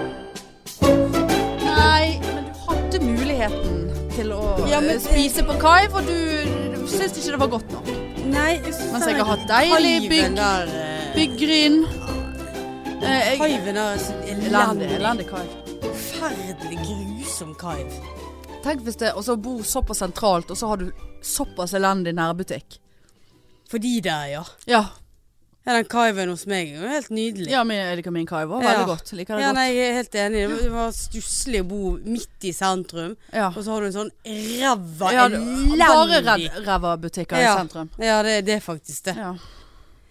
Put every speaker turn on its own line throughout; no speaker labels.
eh, Kai, for du syns ikke det var godt nok.
Nei, jeg synes
Mens
den
jeg har hatt
hiven
deilig bygg-
der, eh,
Byggryn. Eh, jeg-
Hiven der er så
Elendig,
elendig.
elendig Kai.
Forferdelig grusom hive.
Tenk hvis det og så bor såpass sentralt, og så har du såpass elendig nærbutikk.
For de der, ja.
Ja,
ja den hiven hos meg er jo helt nydelig.
ja min, Erika min Kai var veldig
Ja.
godt. Liker det
Ja,
godt.
nei, jeg er helt enig. Det var- Det var stusslig å bo midt i sentrum,
Ja.
og så har du en sånn ræva
Ja, du- bare
elendig
ræv- ræva butikker
Ja.
i sentrum.
Ja, det, det er faktisk det.
Ja.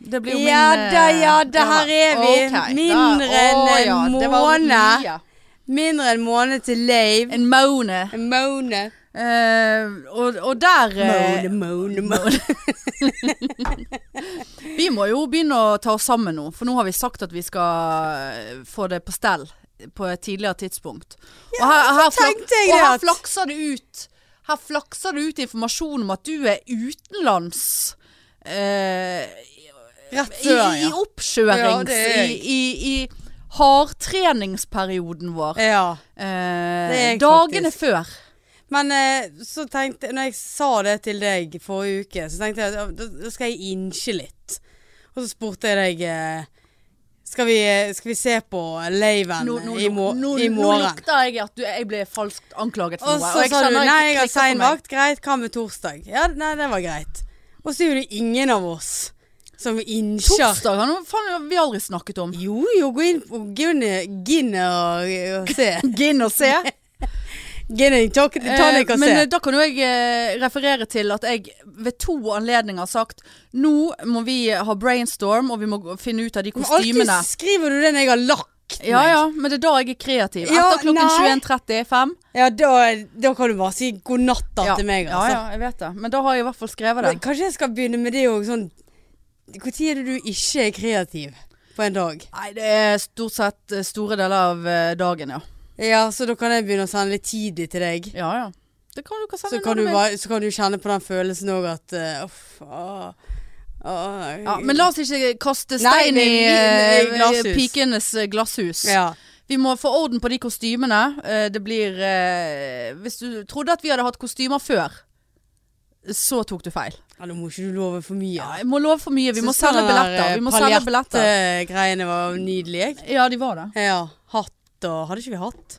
Det blir jo min
Ja
eh,
da, ja da, her er vi.
Ok, da-
Mindre enn
Å,
en
ja, det var
måned.
mye.
Mindre enn måned til lave.
En måned.
En måned.
Eh, og, og der eh,
Måned, måned, måned.
Vi må jo begynne å ta oss sammen nå, for nå har vi sagt at vi skal eh, få det på stell på et tidligere tidspunkt. og her, her, flak-
tenkte jeg
og
det
her
at-
flakser det ut Her flakser det ut informasjon om at du er utenlands. eh,
Rett
I,
før,
i
ja. Ja,
oppkjørings...
det er jeg.
I, i, i hardtreningsperioden vår.
ja.
Eh,
Det er jeg
dagene
faktisk.
før.
Men eh, så tenkte Når jeg sa det til deg forrige uke, så tenkte jeg at ja, da da skal jeg innsje litt. Og så spurte jeg deg eh, skal vi, eh, skal vi se på laven
Nå, nå,
i, mo
nå, nå,
i morgen?
lukter jeg at du, jeg ble falskt anklaget for
Og
noe.
så sa du
kjenner ikke
nei, jeg har
klikker for meg.
sein vakt. Greit, hva med torsdag? Ja, nei, det var greit. Og så er det ingen av oss som innsjer.
Torsdag har noe faen vi aldri snakket om.
Jo, jo, gå inn på Gin- Gin og, og se.
Gin og se.
Gin and tonic og
Eh, men
se.
eh, da kan jo jeg eh, referere til at jeg ved to anledninger har sagt nå må vi ha brainstorm, og vi må gå- finne ut av de
Men Alltid
kostymene.
skriver du det når jeg har lagt meg.
Ja ja, men det er da jeg er kreativ.
Ja,
Etter klokken
nei.
21.35.
Ja, da, da kan du bare si god natt da til meg,
ja,
altså.
ja, jeg vet det. Men da har jeg i hvert fall skrevet
Men
det.
kanskje jeg skal begynne med det òg, sånn Når er det du ikke er kreativ på en dag?
Nei, det er stort sett eh, store deler av eh, dagen, ja.
Ja, så da kan jeg begynne å sende litt tidlig til deg.
Ja ja. Det kan du kan sende
Så kan,
når
du,
vil.
bare- så kan du kjenne på den følelsen òg at eh, Uff. ah, ah,
ja, Men la oss ikke kaste
Nei,
stein
det
i,
er vi-
eh,
i glasshus.
pikenes eh, glasshus.
Ja.
Vi må få orden på de kostymene. Eh, Det blir eh, Hvis du trodde at vi hadde hatt kostymer før, så tok du feil.
ja, nå må ikke du love for mye.
Jeg må love for mye. Vi må selge billetter. Vi må selge billetter.
Paljett-greiene eh, var nydelige.
Ja, de var det.
Ja. Hatt og Hadde ikke vi hatt?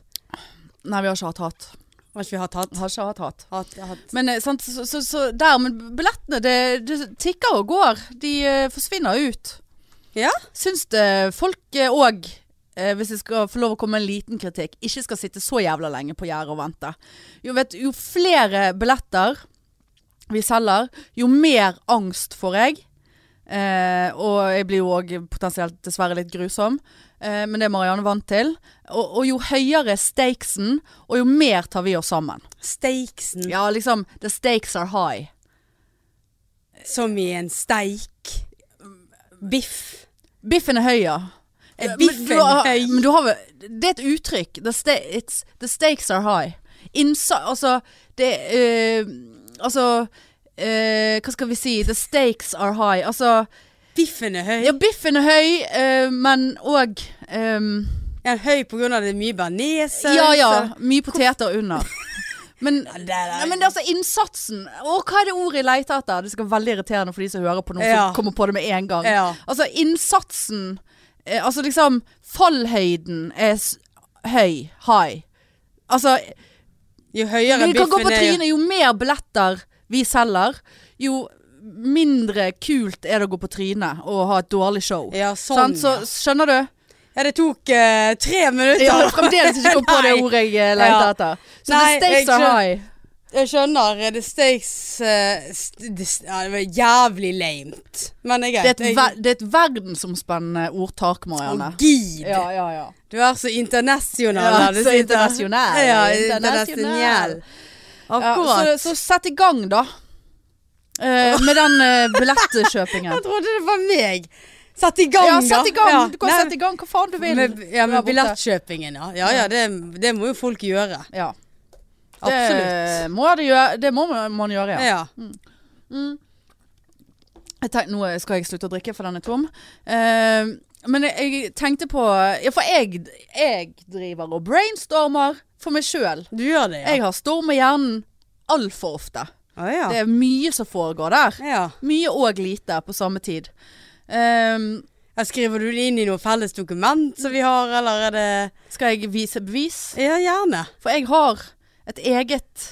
Nei, vi har ikke hatt hatt.
Har ikke vi hatt hatt?
Har ikke hatt hatt.
Hatt, hatt.
Men eh, sant, så, så, så der, men billettene, det, det tikker og går. De eh, forsvinner ut.
Ja.
Syns det folk òg, hvis jeg skal få lov å komme med en liten kritikk, ikke skal sitte så jævla lenge på gjerdet og vente. Jo, vet, jo flere billetter vi selger, jo mer angst får jeg. Eh, og jeg blir jo òg potensielt dessverre litt grusom, eh, men det er Marianne vant til. Og, og jo høyere stakesen, og jo mer tar vi oss sammen.
Steiksen.
Ja, liksom The stakes are high.
Som i en steik. Biff.
Biffen er Eh, høy, ja.
Er
Men
biffen
du har-
høy?
Men du har vel Det er et uttrykk. The, sta it's, the stakes are high. Innsa... Altså, det eh, Altså eh, Hva skal vi si? The stakes are high. Altså
Biffen er høy.
Ja, biffen er høy, eh, men òg ehm,
Er den høy på grunn av det er mye bearnéssaus?
Ja ja, mye poteter under. Men
Ja, det er det.
Nei, men det er altså innsatsen. Å, hva er det ordet jeg leter etter? Det skal være veldig irriterende for de som hører på noe
Ja.
som kommer på det med en gang.
Ja.
Altså innsatsen eh, Altså liksom fallhøyden er s høy. High. Altså
Jo høyere
vi kan gå på
biffen er, jo-
trynet. Jo mer billetter vi selger, jo mindre kult er det å gå på trynet og ha et dårlig show.
Ja, sånn.
Sant? Så skjønner du?
ja, det tok eh, tre minutter.
Ja, fremdeles ikke kom på det
Nei.
ordet jeg leter
Ja.
etter. Så
Nei,
the
jeg
stakes are
skjøn-
high.
Jeg skjønner. eh, The stakes eh, st det, ja, det var jævlig lamet. Men jeg
Det er, et
jeg-
ver det er et verdensomspennende ordtak, Marianne.
Å, gid.
Ja, ja, ja.
Du er så internasjonal.
Ja,
da, du
så
sitter-
internasjonal.
Ja,
Internasjonal.
internasjonal.
Ja,
Akkurat.
så, så sett i gang, da. Eh, med den eh, billettkjøpingen.
jeg trodde det var meg. Sett i gang,
Ja,
da.
sett i gang!
Ja.
Du kan
Nei,
sette i gang hva faen du vil.
Med,
der
ja, med
borte.
billettkjøpingen, ja. Ja ja, det, det må jo folk gjøre.
Ja.
Absolutt.
Det må, det gjøre, det må man- man gjøre, ja.
Ja.
Jeg tenk, nå skal jeg slutte å drikke, for den er tom. Eh, men jeg, jeg tenkte på Ja, for jeg, jeg driver og brainstormer for meg sjøl.
Du gjør det, ja.
Jeg har storm i hjernen altfor ofte.
Å ja.
Det er mye som foregår der.
ja.
Mye og lite på samme tid. Ehm,
Ja, Skriver du det inn i noe felles dokument som vi har, eller er det
skal jeg vise bevis?
Ja, gjerne.
For jeg har et eget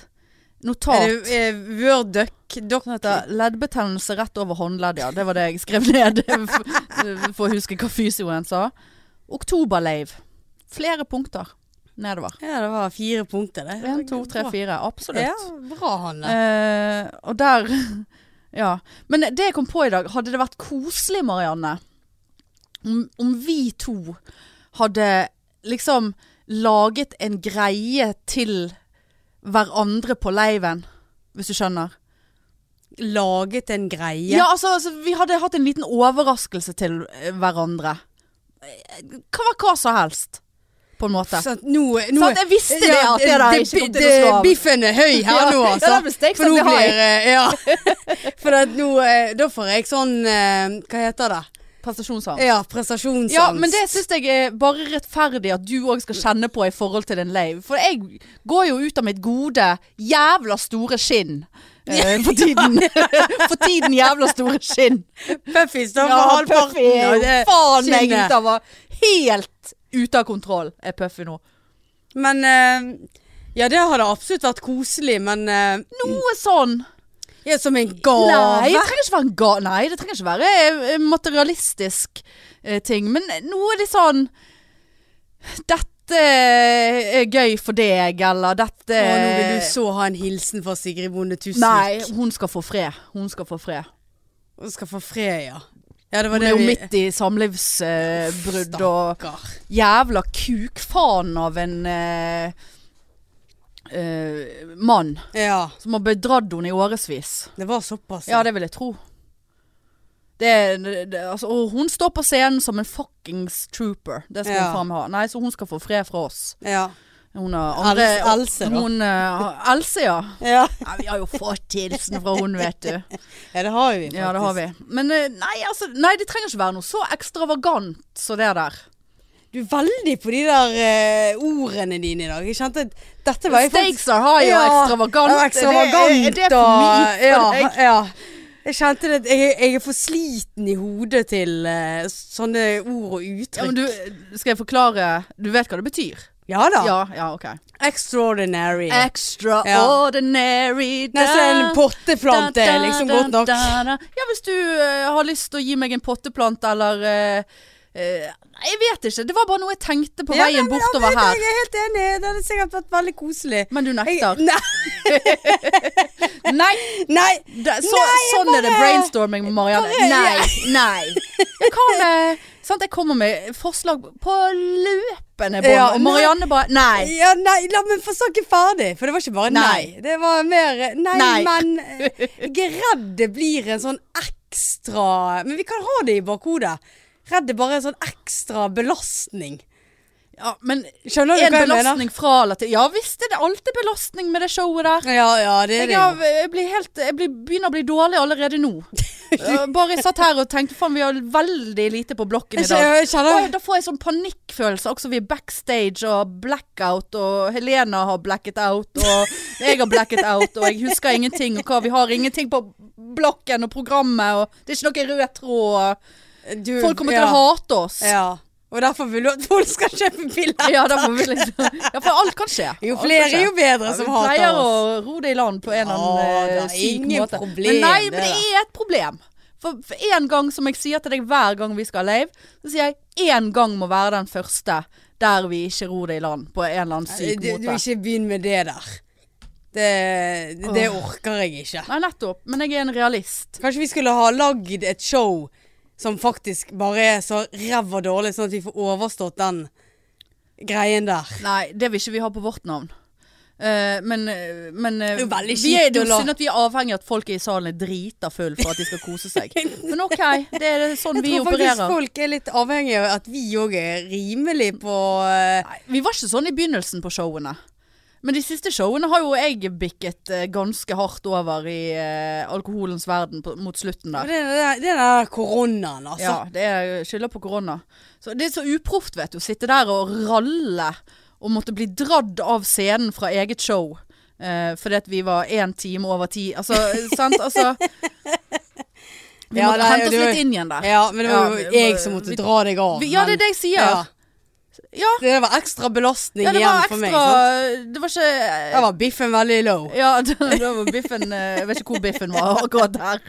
notat.
Er det eh, Word duck, dock?
Sånn heter Leddbetennelse rett over håndleddet, ja. Det var det jeg skrev ned for- for å huske hva fysioen sa. Oktoberleiv. Flere punkter nedover.
Ja, det var fire punkter, det.
Én, to, tre, fire. Absolutt.
Ja, bra, Hanne.
Eh, og der Ja. Men det jeg kom på i dag, hadde det vært koselig, Marianne, om, om vi to hadde liksom laget en greie til hverandre på leiven, hvis du skjønner?
Laget en greie.
Ja, altså, altså vi hadde hatt en liten overraskelse til eh, hverandre. Hva var hva som helst, på en måte.
Sånn, nå, nå,
Sant, jeg visste det, at det der ikke kom til å slå av.
Biffen er høy
Ja,
her nå,
ja,
altså.
det er bestekk,
For
sant,
nå
det har jeg.
blir eh, Ja. For at nå eh, Da får jeg sånn eh, Hva heter det?
Prestasjonsangst.
Ja, prestasjonsangst.
Ja, men det syns jeg er bare rettferdig at du òg skal kjenne på i forhold til din leiv. For jeg går jo ut av mitt gode jævla store skinn eh, for tiden. for tiden jævla store skinn.
Puffy står for
Ja,
halvparten.
Puffy er
av
jo
det
faen meg
skinnet.
ute av Helt ute av kontroll er Puffy nå.
Men eh, Ja, det hadde absolutt vært koselig, men eh,
Noe sånn.
ja, Som en gave.
Nei, det trenger ikke være en ga Nei, det trenger ikke være eh, materialistisk eh, ting. Men noe litt sånn Dette er gøy for deg, eller dette eh,
Og nå vil du så ha en hilsen fra Sigrid Bonde
Nei,
Tusvik.
hun skal få fred. Hun skal få fred.
Hun skal få fred, ja. Ja, det
Hun
var det
er jo
vi
midt i samlivsbrudd og
Stakkar.
jævla kukfaen av en eh, eh, mann
Ja.
som har bedratt henne i årevis.
Det var såpass.
Ja, det vil jeg tro. Det, det, det, altså, og hun står på scenen som en fuckings trooper. Det skal
Ja.
hun faen meg ha. Nei, så hun skal få fred fra oss.
Ja.
Hun har andre
Els- Else, da.
Hun, eh, Else, ja.
Ja.
ja. Vi har jo fått hilsen fra hun, vet du.
ja, det har vi faktisk.
Ja, det har vi. Men eh, nei, altså, nei, det trenger ikke være noe så ekstravagant som det der.
Du er veldig på de der eh, ordene dine i dag. Jeg kjente at dette var jeg
Stakes are high og
Ja,
ekstravagant.
det var ekstravagant
Er det, er det for mye for
ja,
deg?
Ja. Jeg kjente det at jeg, jeg er for sliten i hodet til eh, sånne ord og uttrykk.
Ja, men du, skal jeg forklare Du vet hva det betyr?
Ja da.
Ja, ja, ok.
Extraordinary.
Extraordinary
Nesten en potteplante
da,
er
da,
liksom
da,
godt nok.
da, da. Ja, hvis du eh, har lyst til å gi meg en potteplante eller eh, eh, Nei, jeg vet ikke. Det var bare noe jeg tenkte på
Ja,
veien
nei, men-
bortover
ja, men
her.
Jeg er helt enig. Det hadde sikkert vært veldig koselig.
Men du nekter.
Jeg, nei,
nei!
nei.
Det, så,
Nei, jeg
sånn er det
bare-
brainstorming med Marianne.
Bare-
Nei, nei. Ja, Hva med Sant, jeg kommer med forslag på løpende bånd,
Ja,
og Marianne bare Nei.
Ja, nei, la meg få snakke ferdig. For det var ikke bare nei.
Nei.
Det var mer eh, nei,
Nei.
men eh, Jeg er redd det blir en sånn ekstra Men vi kan ha det i bakhodet. Redd det bare er en sånn ekstra belastning.
Ja, men
Skjønner
en
du hva jeg mener?
belastning fra eller til Ja visst er det alltid belastning med det showet der.
Ja, ja, det er
Jeg,
det. jo.
har- jeg, blir helt, jeg blir, begynner å bli dårlig allerede nå. Eh, Bare jeg satt her og tenkte faen, vi har veldig lite på blokken i
Jeg
dag.
kjenner- jeg
Oi,
kjenner
da får jeg sånn panikkfølelse også. Vi er backstage og blackout, og Helena har blacket out, og jeg har blacket out, og jeg husker ingenting, og hva vi har ingenting på blokken og programmet, og det er ikke noe rød tråd.
du,
Folk kommer til
ja,
å hate oss.
Ja. Og derfor vil du at folk skal kjøpe billetter.
Ja, derfor vil jeg liksom- Ja, for alt kan skje.
Jo
Alt kan
flere,
skje.
jo bedre som
Vi
hater
pleier
oss.
å ro det i land på en eller
Ja,
annen
det
eh,
er
syk
ingen
måte.
problem,
men nei,
det
men det
der.
er et problem. For, for en gang, som jeg sier til deg hver gang vi skal live, så sier jeg én gang må være den første der vi ikke ror det i land på en eller annen syk
Du, du
måte.
ikke begynn med det der. Det, det, det orker jeg ikke.
Nei, nettopp. Men jeg er en realist.
Kanskje vi skulle ha lagd et show som faktisk bare er så ræva dårlig, sånn at vi får overstått den greien der.
Nei, det vil ikke vi ha på vårt navn. Eh, men eh, men eh,
Det er jo veldig
vi er,
kjipt
det er
å la-
jo synd at vi er avhengig av at folk er i salen er drita full for at de skal kose seg. Men OK, det er sånn
Jeg
vi
tror faktisk
opererer.
folk er litt avhengig av at vi òg er rimelig på eh,
Nei, vi var ikke sånn i begynnelsen på showene. Men de siste showene har jo jeg bikket eh, ganske hardt over i eh, alkoholens verden på, mot slutten
Det
der.
er den der- det er den der koronaen, altså.
Ja, det er- skylder på korona. Så det er så uproft, vet du. Å sitte der og ralle og måtte bli dradd av scenen fra eget show. Eh, fordi at vi var én time over ti. Altså, sant? Altså Vi
Ja,
må
nei,
hente oss
du-
litt inn igjen der.
Ja, men det var
Ja,
jo
vi-
jeg som måtte
vi-
dra deg av.
Vi- ja, det er det jeg sier.
Ja.
Ja.
Det var ekstra belastning
Ja, det
igjen
var
for
ekstra
meg. Sant?
Det var ikke
Der var biffen veldig low.
Ja, da, da var biffen eh, Jeg vet ikke hvor biffen var akkurat der.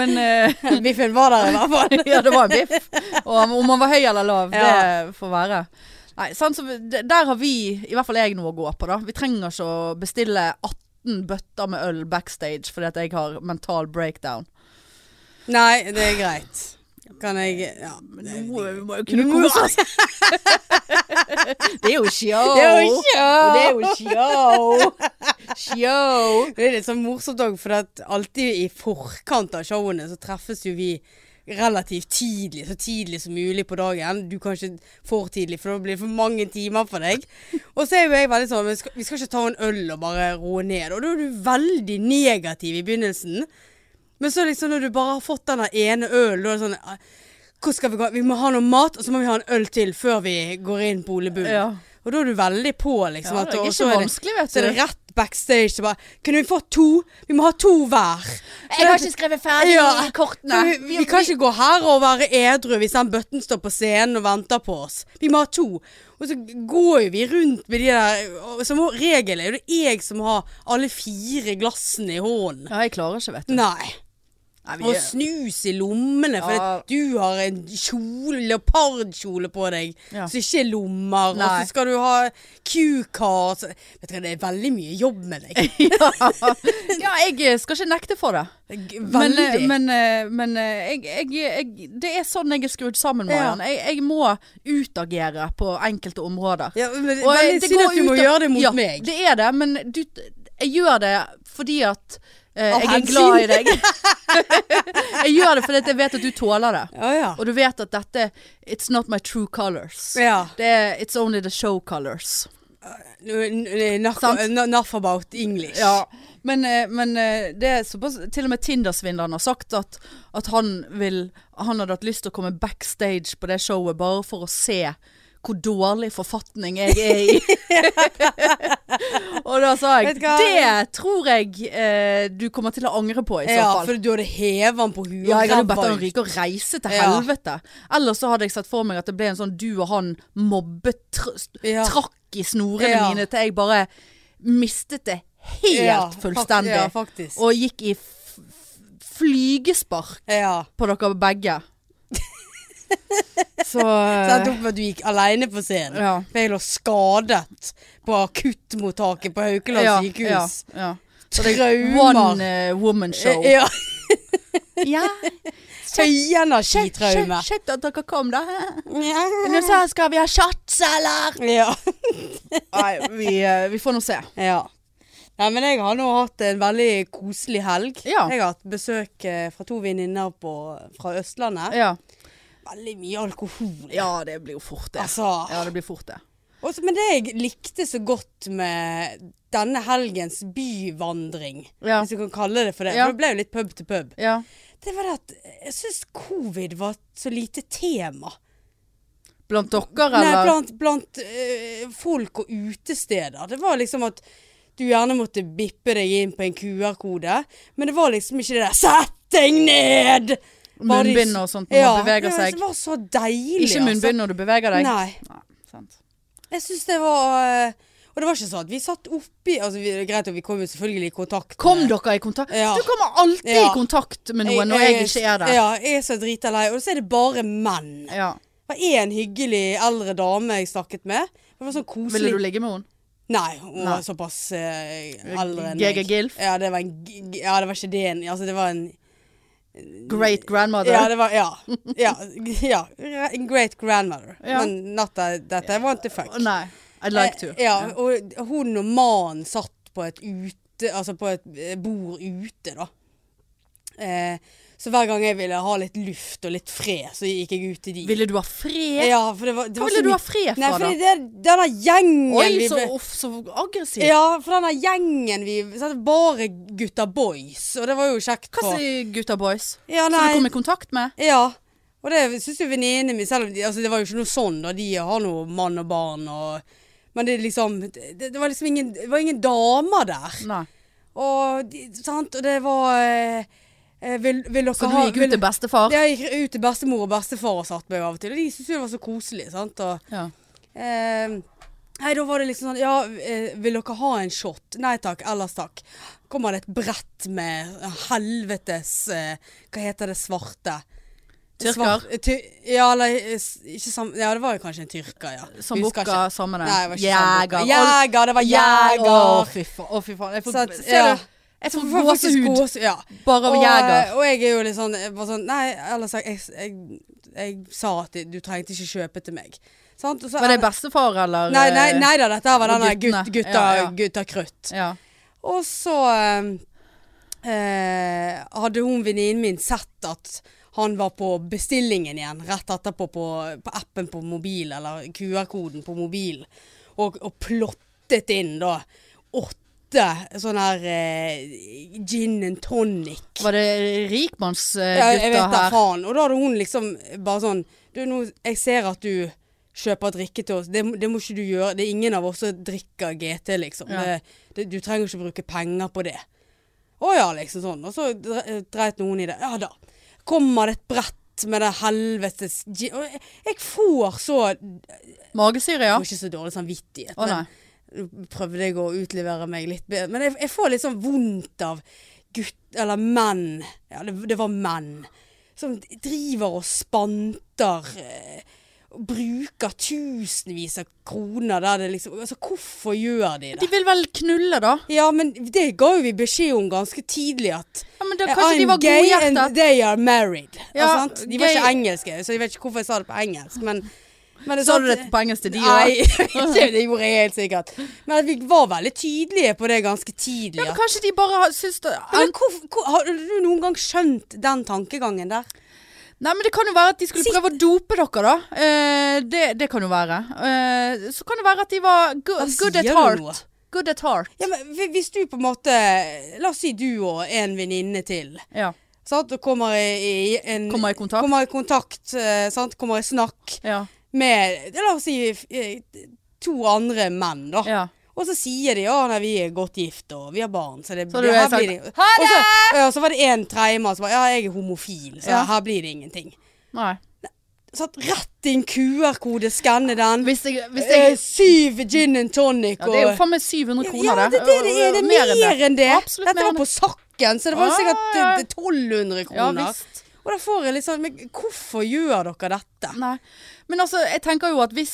Men eh,
biffen var der i hvert fall.
ja, det var en biff. Og om- om han var høy eller lav,
Ja.
det får være. Nei, sant, så vi- d- Der har vi, i hvert fall jeg, noe å gå på. da Vi trenger ikke å bestille 18 bøtter med øl backstage fordi at jeg har mental breakdown.
Nei, det er greit. Kan jeg Ja.
Men nå vi må jo kunne kose oss. Det er jo show.
Det er jo show.
Og Det er jo show. Show.
Det er litt sånn morsomt òg, for at alltid i forkant av showene så treffes jo vi relativt tidlig, så tidlig som mulig på dagen. Du kan ikke for tidlig, for da blir det for mange timer for deg. Og så er jo jeg veldig sånn Vi skal, vi skal ikke ta en øl og bare roe ned. Og da er du veldig negativ i begynnelsen. Men så liksom når du bare har fått den der ene ølen, da er det sånn "Ah, Hvor skal vi gå? Vi må ha noe mat, og så må vi ha en øl til før vi går inn på Ole Bull.
Ja.
Og da er du veldig på, liksom.
Ja,
at,
det er
og så
ikke vanskelig, vet
så er
du.
det rett backstage og bare Kunne vi fått to? Vi må ha to hver.
Jeg har ikke skrevet ferdig
Ja.
i kortene.
vi, vi, kan ikke gå her og være edru hvis den bøtten står på scenen og venter på oss. Vi må ha to. Og så går jo vi rundt med de der og Som regel er det jeg som har alle fire glassene i hånden.
Ja, jeg klarer ikke, vet du.
Nei.
Nei, vi,
Og snus i lommene, for
Ja.
at du har en kjole, leopardkjole på deg
Ja.
som ikke er lommer, og
Nei.
så skal du ha Q-card Vet du hva, det er veldig mye jobb med deg.
ja, jeg skal ikke nekte for det. Men,
Veldig.
eh, men, eh, men eh, jeg, jeg, jeg, det er sånn jeg er skrudd sammen,
Ja.
Mariann. Jeg, jeg må utagere på enkelte områder.
Ja, men det,
Og jeg-
veldig
det
synd
går
at du må
ut av-
gjøre det mot
ja,
meg.
Det er det, men du, jeg gjør det fordi at eh,
Av
jeg er
hensyn.
glad i deg. jeg gjør det fordi at jeg vet at du tåler det.
Ja, ja.
Og du vet at dette It's not my true colors.
ja.
Det er, it's only the show colors.
N- n- Enough,
Sant.
enough about English.
Ja, men, eh, men eh, det er såpass Til og med Tinder-svindleren har sagt at, at han, vil, han hadde hatt lyst til å komme backstage på det showet bare for å se hvor dårlig forfatning jeg er i. og da sa jeg
Vet du hva?
Det tror jeg eh, du kommer til å angre på, i så
Ja,
fall.
for du hadde hevet den på huet.
Ja, jeg hadde
og
bedt han
ræva ut.
ryke og reise til
Ja.
helvete. Ellers så hadde jeg sett for meg at det ble en sånn du og han mobbet tr
Ja.
trakk i snorene
Ja.
mine til jeg bare mistet det helt
Ja, fak-
fullstendig.
Ja, faktisk.
og gikk i f f flygespark
ja.
på dere begge. så eh,
Så endte det opp med at du gikk alene på scenen.
Ja.
For jeg lå skadet på akuttmottaket på Haukeland
ja, ja,
sykehus.
ja.
Traumer.
One eh, woman show.
Ja,
Ja,
Høyenergitraume.
Kjekt at dere kom, da.
Ja.
Nå så skal vi ha shots, eller?
ja.
Nei, vi, eh, vi får nå se.
ja. Nei, men jeg har nå hatt en veldig koselig helg.
Ja.
Jeg har hatt besøk eh, fra to venninner på- fra Østlandet.
Ja.
Veldig mye alkohol.
Ja, det blir jo fort det.
Altså.
Ja, det blir fort det.
Også, men det jeg likte så godt med denne helgens byvandring,
Ja.
hvis du kan kalle det for det,
Ja.
for det ble jo litt pub til pub,
Ja.
det var det at eh, jeg syns covid var et så lite tema.
Blant dere,
Nei,
eller?
blant, blant øh, folk og utesteder. Det var liksom at du gjerne måtte bippe deg inn på en QR-kode, men det var liksom ikke det der 'sett deg ned'! Bare de-
Munnbind og sånt når man beveger
ja,
seg.
Det var så deilig, altså.
Ikke munnbind når du beveger deg?
Nei.
sant.
Jeg syns det var øh, Og det var ikke sånn at vi satt oppi altså, vi, det er Greit, og vi kom jo selvfølgelig i kontakt.
Kom
med-
dere i kontakt?
Ja.
Du kommer alltid
Ja.
i kontakt med noen når jeg ikke er der.
Ja, jeg er så drita lei. Og så er det bare menn.
Ja.
Det var én hyggelig eldre dame jeg snakket med. Det var sånn koselig.
Ville du ligge med henne?
Nei, hun
Nei.
var såpass eh, eldre enn
GG
meg.
Gilf?
Ja, det var en g- g- Ja, det var ikke det en Altså, det var en
Great grandmother?
Ja, det var Ja. ja, ja en great grandmother.
Ja.
Men not that, that I want to fuck.
Å, Nei. I'd like to.
Eh, Ja, og hun og mannen satt på et ute, altså på et eh, bord ute da. Eh, så hver gang jeg ville ha litt luft og litt fred, så gikk jeg ut til de.
Ville du ha fred?
Ja, for det var, det
Hva
var
ville du ha
fred
fred
Nei,
fra, da?
fordi det, denne gjengen
Oi,
vi
så,
ble-
uff, så aggressiv.
Ja, for denne gjengen vi sant, Bare gutta boys, og det var jo kjekt
Hva
for
sier gutta boys?
Ja,
Som du
nei,
kom i kontakt med?
ja. Og det syns jo venninnene mine, selv om de, altså, det var jo ikke noe sånn, da. De har noe mann og barn og Men det, er liksom, det, det var liksom ingen, det var ingen damer der.
Nei.
Og, de- sant? og det var eh, eh, vil, vil dere
Så du
ha
gikk
vil,
ut til bestefar?
Jeg gikk ut til bestemor og bestefar og satt meg av og til. Og de syntes jo det var så koselig. Sant? Og,
Ja.
eh, nei, da var det liksom sånn Ja, eh, vil dere ha en shot? Nei takk, ellers takk. Kommer det et brett med helvetes eh, Hva heter det svarte?
Tyrker?
Svart- eh, ty, ja, eller eh, s- ikke sam... Ja, det var jo kanskje en tyrker, ja. Husker
Sambukka,
ikke.
samme det.
Nei, det var ikke
Jeger.
sambuca. Jeger, det var jeger.
Å, fy faen. Å, fy faen. Jeg får,
Så at-
ser
ja.
du? Jeg får
Jeg får faktisk
gåsehud
gåse- Ja.
bare av
Og,
jeger.
og jeg er jo litt sånn, bare sånn Nei, ellers jeg, jeg, jeg, sa at du trengte ikke kjøpe til meg. Sant? Og så-
Var det bestefar, eller?
Nei, nei, nei da, dette her var
Og
den der
guttene.
gut, gutta,
Ja, ja.
gutta krutt.
Ja.
Og så eh, eh, hadde hun venninnen min sett at han var på bestillingen igjen rett etterpå på, på appen på mobil, eller QR-koden på mobil, og, og plottet inn da åtte sånne her eh, gin and tonic
Var det rikmannsgutter
ja, jeg vet da
Eh, her?
faen. Og da hadde hun liksom bare sånn Du, nå, jeg ser at du kjøper drikke til oss. Det, det må ikke du gjøre. Det er ingen av oss som drikker GT, liksom.
Ja.
Det, det, du trenger ikke bruke penger på det. Å ja, liksom sånn. Og så dre- dreit noen i det. Ja da. Kommer det et brett med det helvetes gi- Og jeg- Jeg får så Jeg
Magesyre, ja?
får ikke så dårlig samvittighet.
Å
men-
nei.
nå prøvde jeg å utlevere meg litt bedre. Men jeg, jeg får litt sånn vondt av gutt, eller menn. Ja, det, det var menn. Som driver og spanter. Eh, og bruker tusenvis av kroner der det liksom Altså, hvorfor gjør de
De
det?
vil vel knulle, da?
Ja, men det ga jo vi beskjed om ganske tidlig at eh,
Ja, men da, Kanskje de var
gay and
godhjertet?
they are married. Ja,
Ja,
sant? De var
gay-
ikke engelske, så jeg vet ikke hvorfor jeg sa det på engelsk, men, men
Sa
sant-
du det på engelsk til de òg?
sånn- Nei, det, det gjorde jeg helt sikkert. Men at vi var veldig tydelige på det ganske tidlig.
Men
at-
kanskje de bare har- syns det
Men hvor, hvor, har du noen gang skjønt den tankegangen der?
Nei, men det kan jo være at de skulle
Sitt-
prøve å dope dere, da. Eh, det, det kan jo være. Eh, så kan det være at de var go
Hva
good at
sier du nå?
heart. Good at heart.
Ja, men hvi- Hvis du på en måte La oss si du og en venninne til.
Ja.
Sant? Og kommer i, i en,
Kommer i kontakt.
Kommer i kontakt, eh, sant? Kommer i snakk
Ja.
med La oss si eh, to andre menn, da.
ja.
Og så sier de at vi er godt gift og vi har barn. Så, det,
Så
det,
du har
her
sagt,
blir det
«Ha det!»
Og så, ja, så var det en tredjemann som var ja, jeg er homofil, så
Ja.
her blir det ingenting.
Nei.
Satt rett inn QR-kode, skanne den.
Hvis jeg, hvis
eh,
jeg
syv gin and tonic
ja, Det er jo
og-
faen meg 700
ja,
kroner,
det. er Det, det, er, det er mer, enn det.
Absolutt
Dette
mer
var
enn
på Sakken, så det var jo
Ah,
sikkert eh,
ja.
1200
Ja
kroner.
visst.
og da får jeg litt sånn Men hvorfor gjør dere dette?
Nei. Men altså, jeg tenker jo at hvis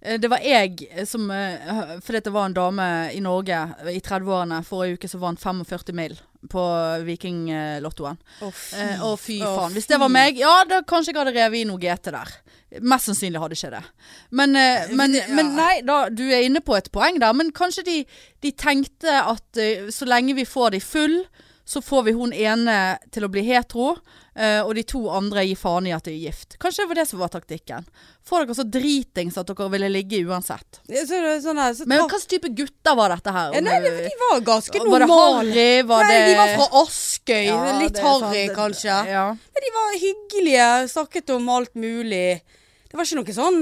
eh, det var jeg eh, som eh, Fordi at det var en dame i Norge i 30-årene forrige uke som vant 45 mil på Vikinglottoen.
Å, fy.
Eh, Å, fy
Å,
faen. Hvis det
fy.
var meg, ja, da kanskje jeg hadde revet i noe GT der. Mest sannsynlig hadde ikke det. Men, eh, men,
Ja.
men nei, da, du er inne på et poeng der. Men kanskje de, de tenkte at eh, så lenge vi får de full, så får vi hun ene til å bli hetero, eh, og de to andre gir faen i at de er gift. Kanskje det var det som var taktikken. Få dere så dritings at dere ville ligge uansett.
Så, det er sånn her, så
Men
tar-
hva slags type gutter var dette her?
ja, Eh, Nei, det, de var ganske
var det
normale.
harry? Var
Nei,
det
de var fra Askøy.
Ja,
litt
det er sant.
harry, kanskje.
Ja.
Men de var hyggelige, snakket om alt mulig. Det var ikke noe sånn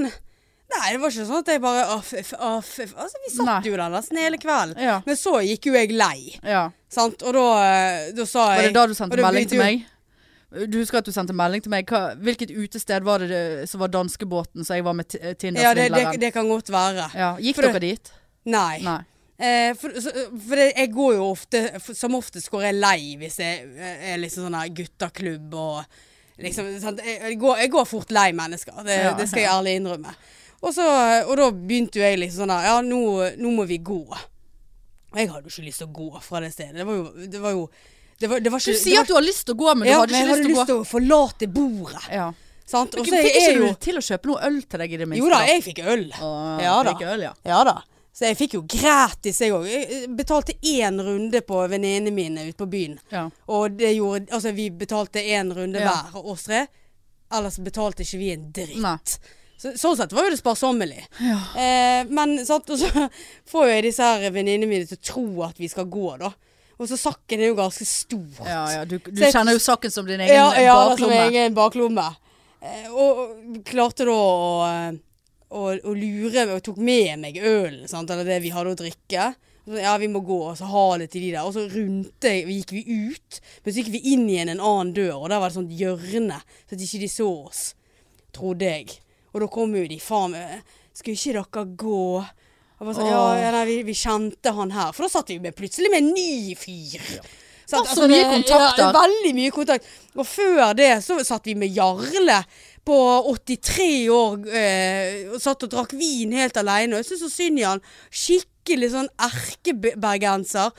Nei, det var ikke sånn at jeg bare aff, aff, aff, aff. Altså, Vi satt
Nei.
jo der nesten hele kvelden.
ja.
Men så gikk jo jeg lei,
ja.
sant. Og da, eh, da sa
Var det
jeg
da du sendte
og da
melding
begynte
til
jo-
meg? Du husker at du sendte melding til meg. Hva, hvilket utested var det, det som var danskebåten som jeg var med T-
Ja, det, det,
Tinder-svindleren?
det kan godt være.
Altså, Ja, Gikk
For det-
dere dit?
Nei.
Nei.
Eh, for så, for det, jeg går jo ofte for, Som oftest går jeg lei hvis jeg eh, er liksom sånn her guttaklubb og liksom sant? Jeg, jeg, går, jeg går fort lei mennesker. Det,
Ja.
det skal jeg ærlig innrømme. Og, så, og da begynte jo jeg liksom sånn her Ja, nå, nå må vi gå. Og jeg hadde jo ikke lyst til å gå fra det stedet. Det var jo Det var, jo, det var, det var
Du
ikke
sier at du har lyst til å gå, men du
ja,
hadde
men jeg
ikke lyst
hadde
til å gå.
lyst til å forlate bordet.
Ja.
Sant? Og
Fikk
så er
ikke
jeg
du
jo
til å kjøpe noe øl til deg i det minste?
Jo da, jeg fikk øl.
Å,
Ja da.
fikk Øl, ja.
Ja da. Så jeg fikk jo gratis, jeg òg. Jeg eh, betalte én runde på venninnene mine ute på byen.
Ja.
Og det gjorde Altså, vi betalte én runde
Ja.
hver, oss tre. Ellers betalte ikke vi en dritt.
Nei.
Så, sånn sett var jo det sparsommelig.
Ja.
Eh, men sant, og så får jo jeg disse her venninnene mine til å tro at vi skal gå, da. Og så sakken er jo ganske stor.
Ja, ja, du, du
Så jeg-
kjenner jo saken som din egen
altså, Ja, ja, det er som
baklomme.
egen baklomme. Eh, Og klarte da å eh, og, og lure og tok med meg ølen, sant, eller det vi hadde å drikke. Og så, ja, vi må gå, og så ha det til de der. Og så rundt jeg, gikk vi ut, men så gikk vi inn igjen en annen dør, og der var det sånt hjørne, så at ikke de så oss, trodde jeg. Og da kom jo de, faen meg, skulle ikke dere gå? Og bare sånn, ja,
Åh.
ja, nei, vi, vi kjente han her. For da satt vi med, plutselig med en ny fyr. Sant?
Det var
altså,
så mye
det-
kontakter.
Ja, veldig mye kontakt. Og før det så satt vi med Jarle på 83 år eh, og satt og drakk vin helt alene. Og jeg syns så synd i han. Skikkelig sånn erkebergenser.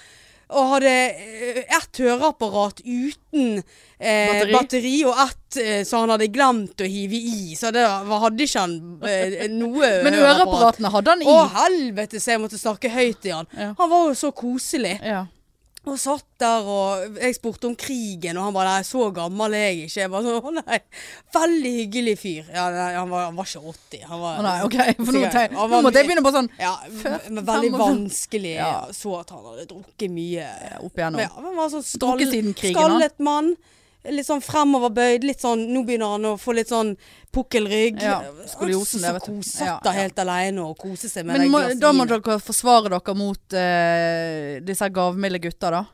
Og hadde eh, ett høreapparat uten eh,
Batteri.
batteri. og ett eh, så han hadde glemt å hive i. Så det var- hadde ikke han eh, noe
Men øreapparatene hadde han i.
Å helvete, så jeg måtte snakke høyt til han.
Ja.
Han var jo så koselig.
Ja.
Og satt der, og jeg spurte om krigen, og han bare 'Nei, så gammel er jeg ikke'. Jeg bare sånn 'Å nei'. Veldig hyggelig fyr. Ja, nei, han, var, han var ikke 80. Han var
Å nei, OK. For nå,
Sikkert.
tenk-
Han
nå
var
måtte jeg
mye-
begynne på sånn
Ja,
Før-
men veldig
fem og-
vanskelig.
Ja.
Så at han hadde drukket mye.
opp igjennom.
Men ja, han var sånn skall,
Drukket siden krigen, han.
skallet mann. Litt sånn fremoverbøyd. Litt sånn Nå begynner han å få litt sånn pukkelrygg.
Ja, skoliosen, det,
så, så
vet du.
kos-
Ja,
Satt der
ja.
helt alene og koste seg med
Men
det
må,
glasset
da må
vin.
dere forsvare dere mot eh, disse her gavmilde gutta, da.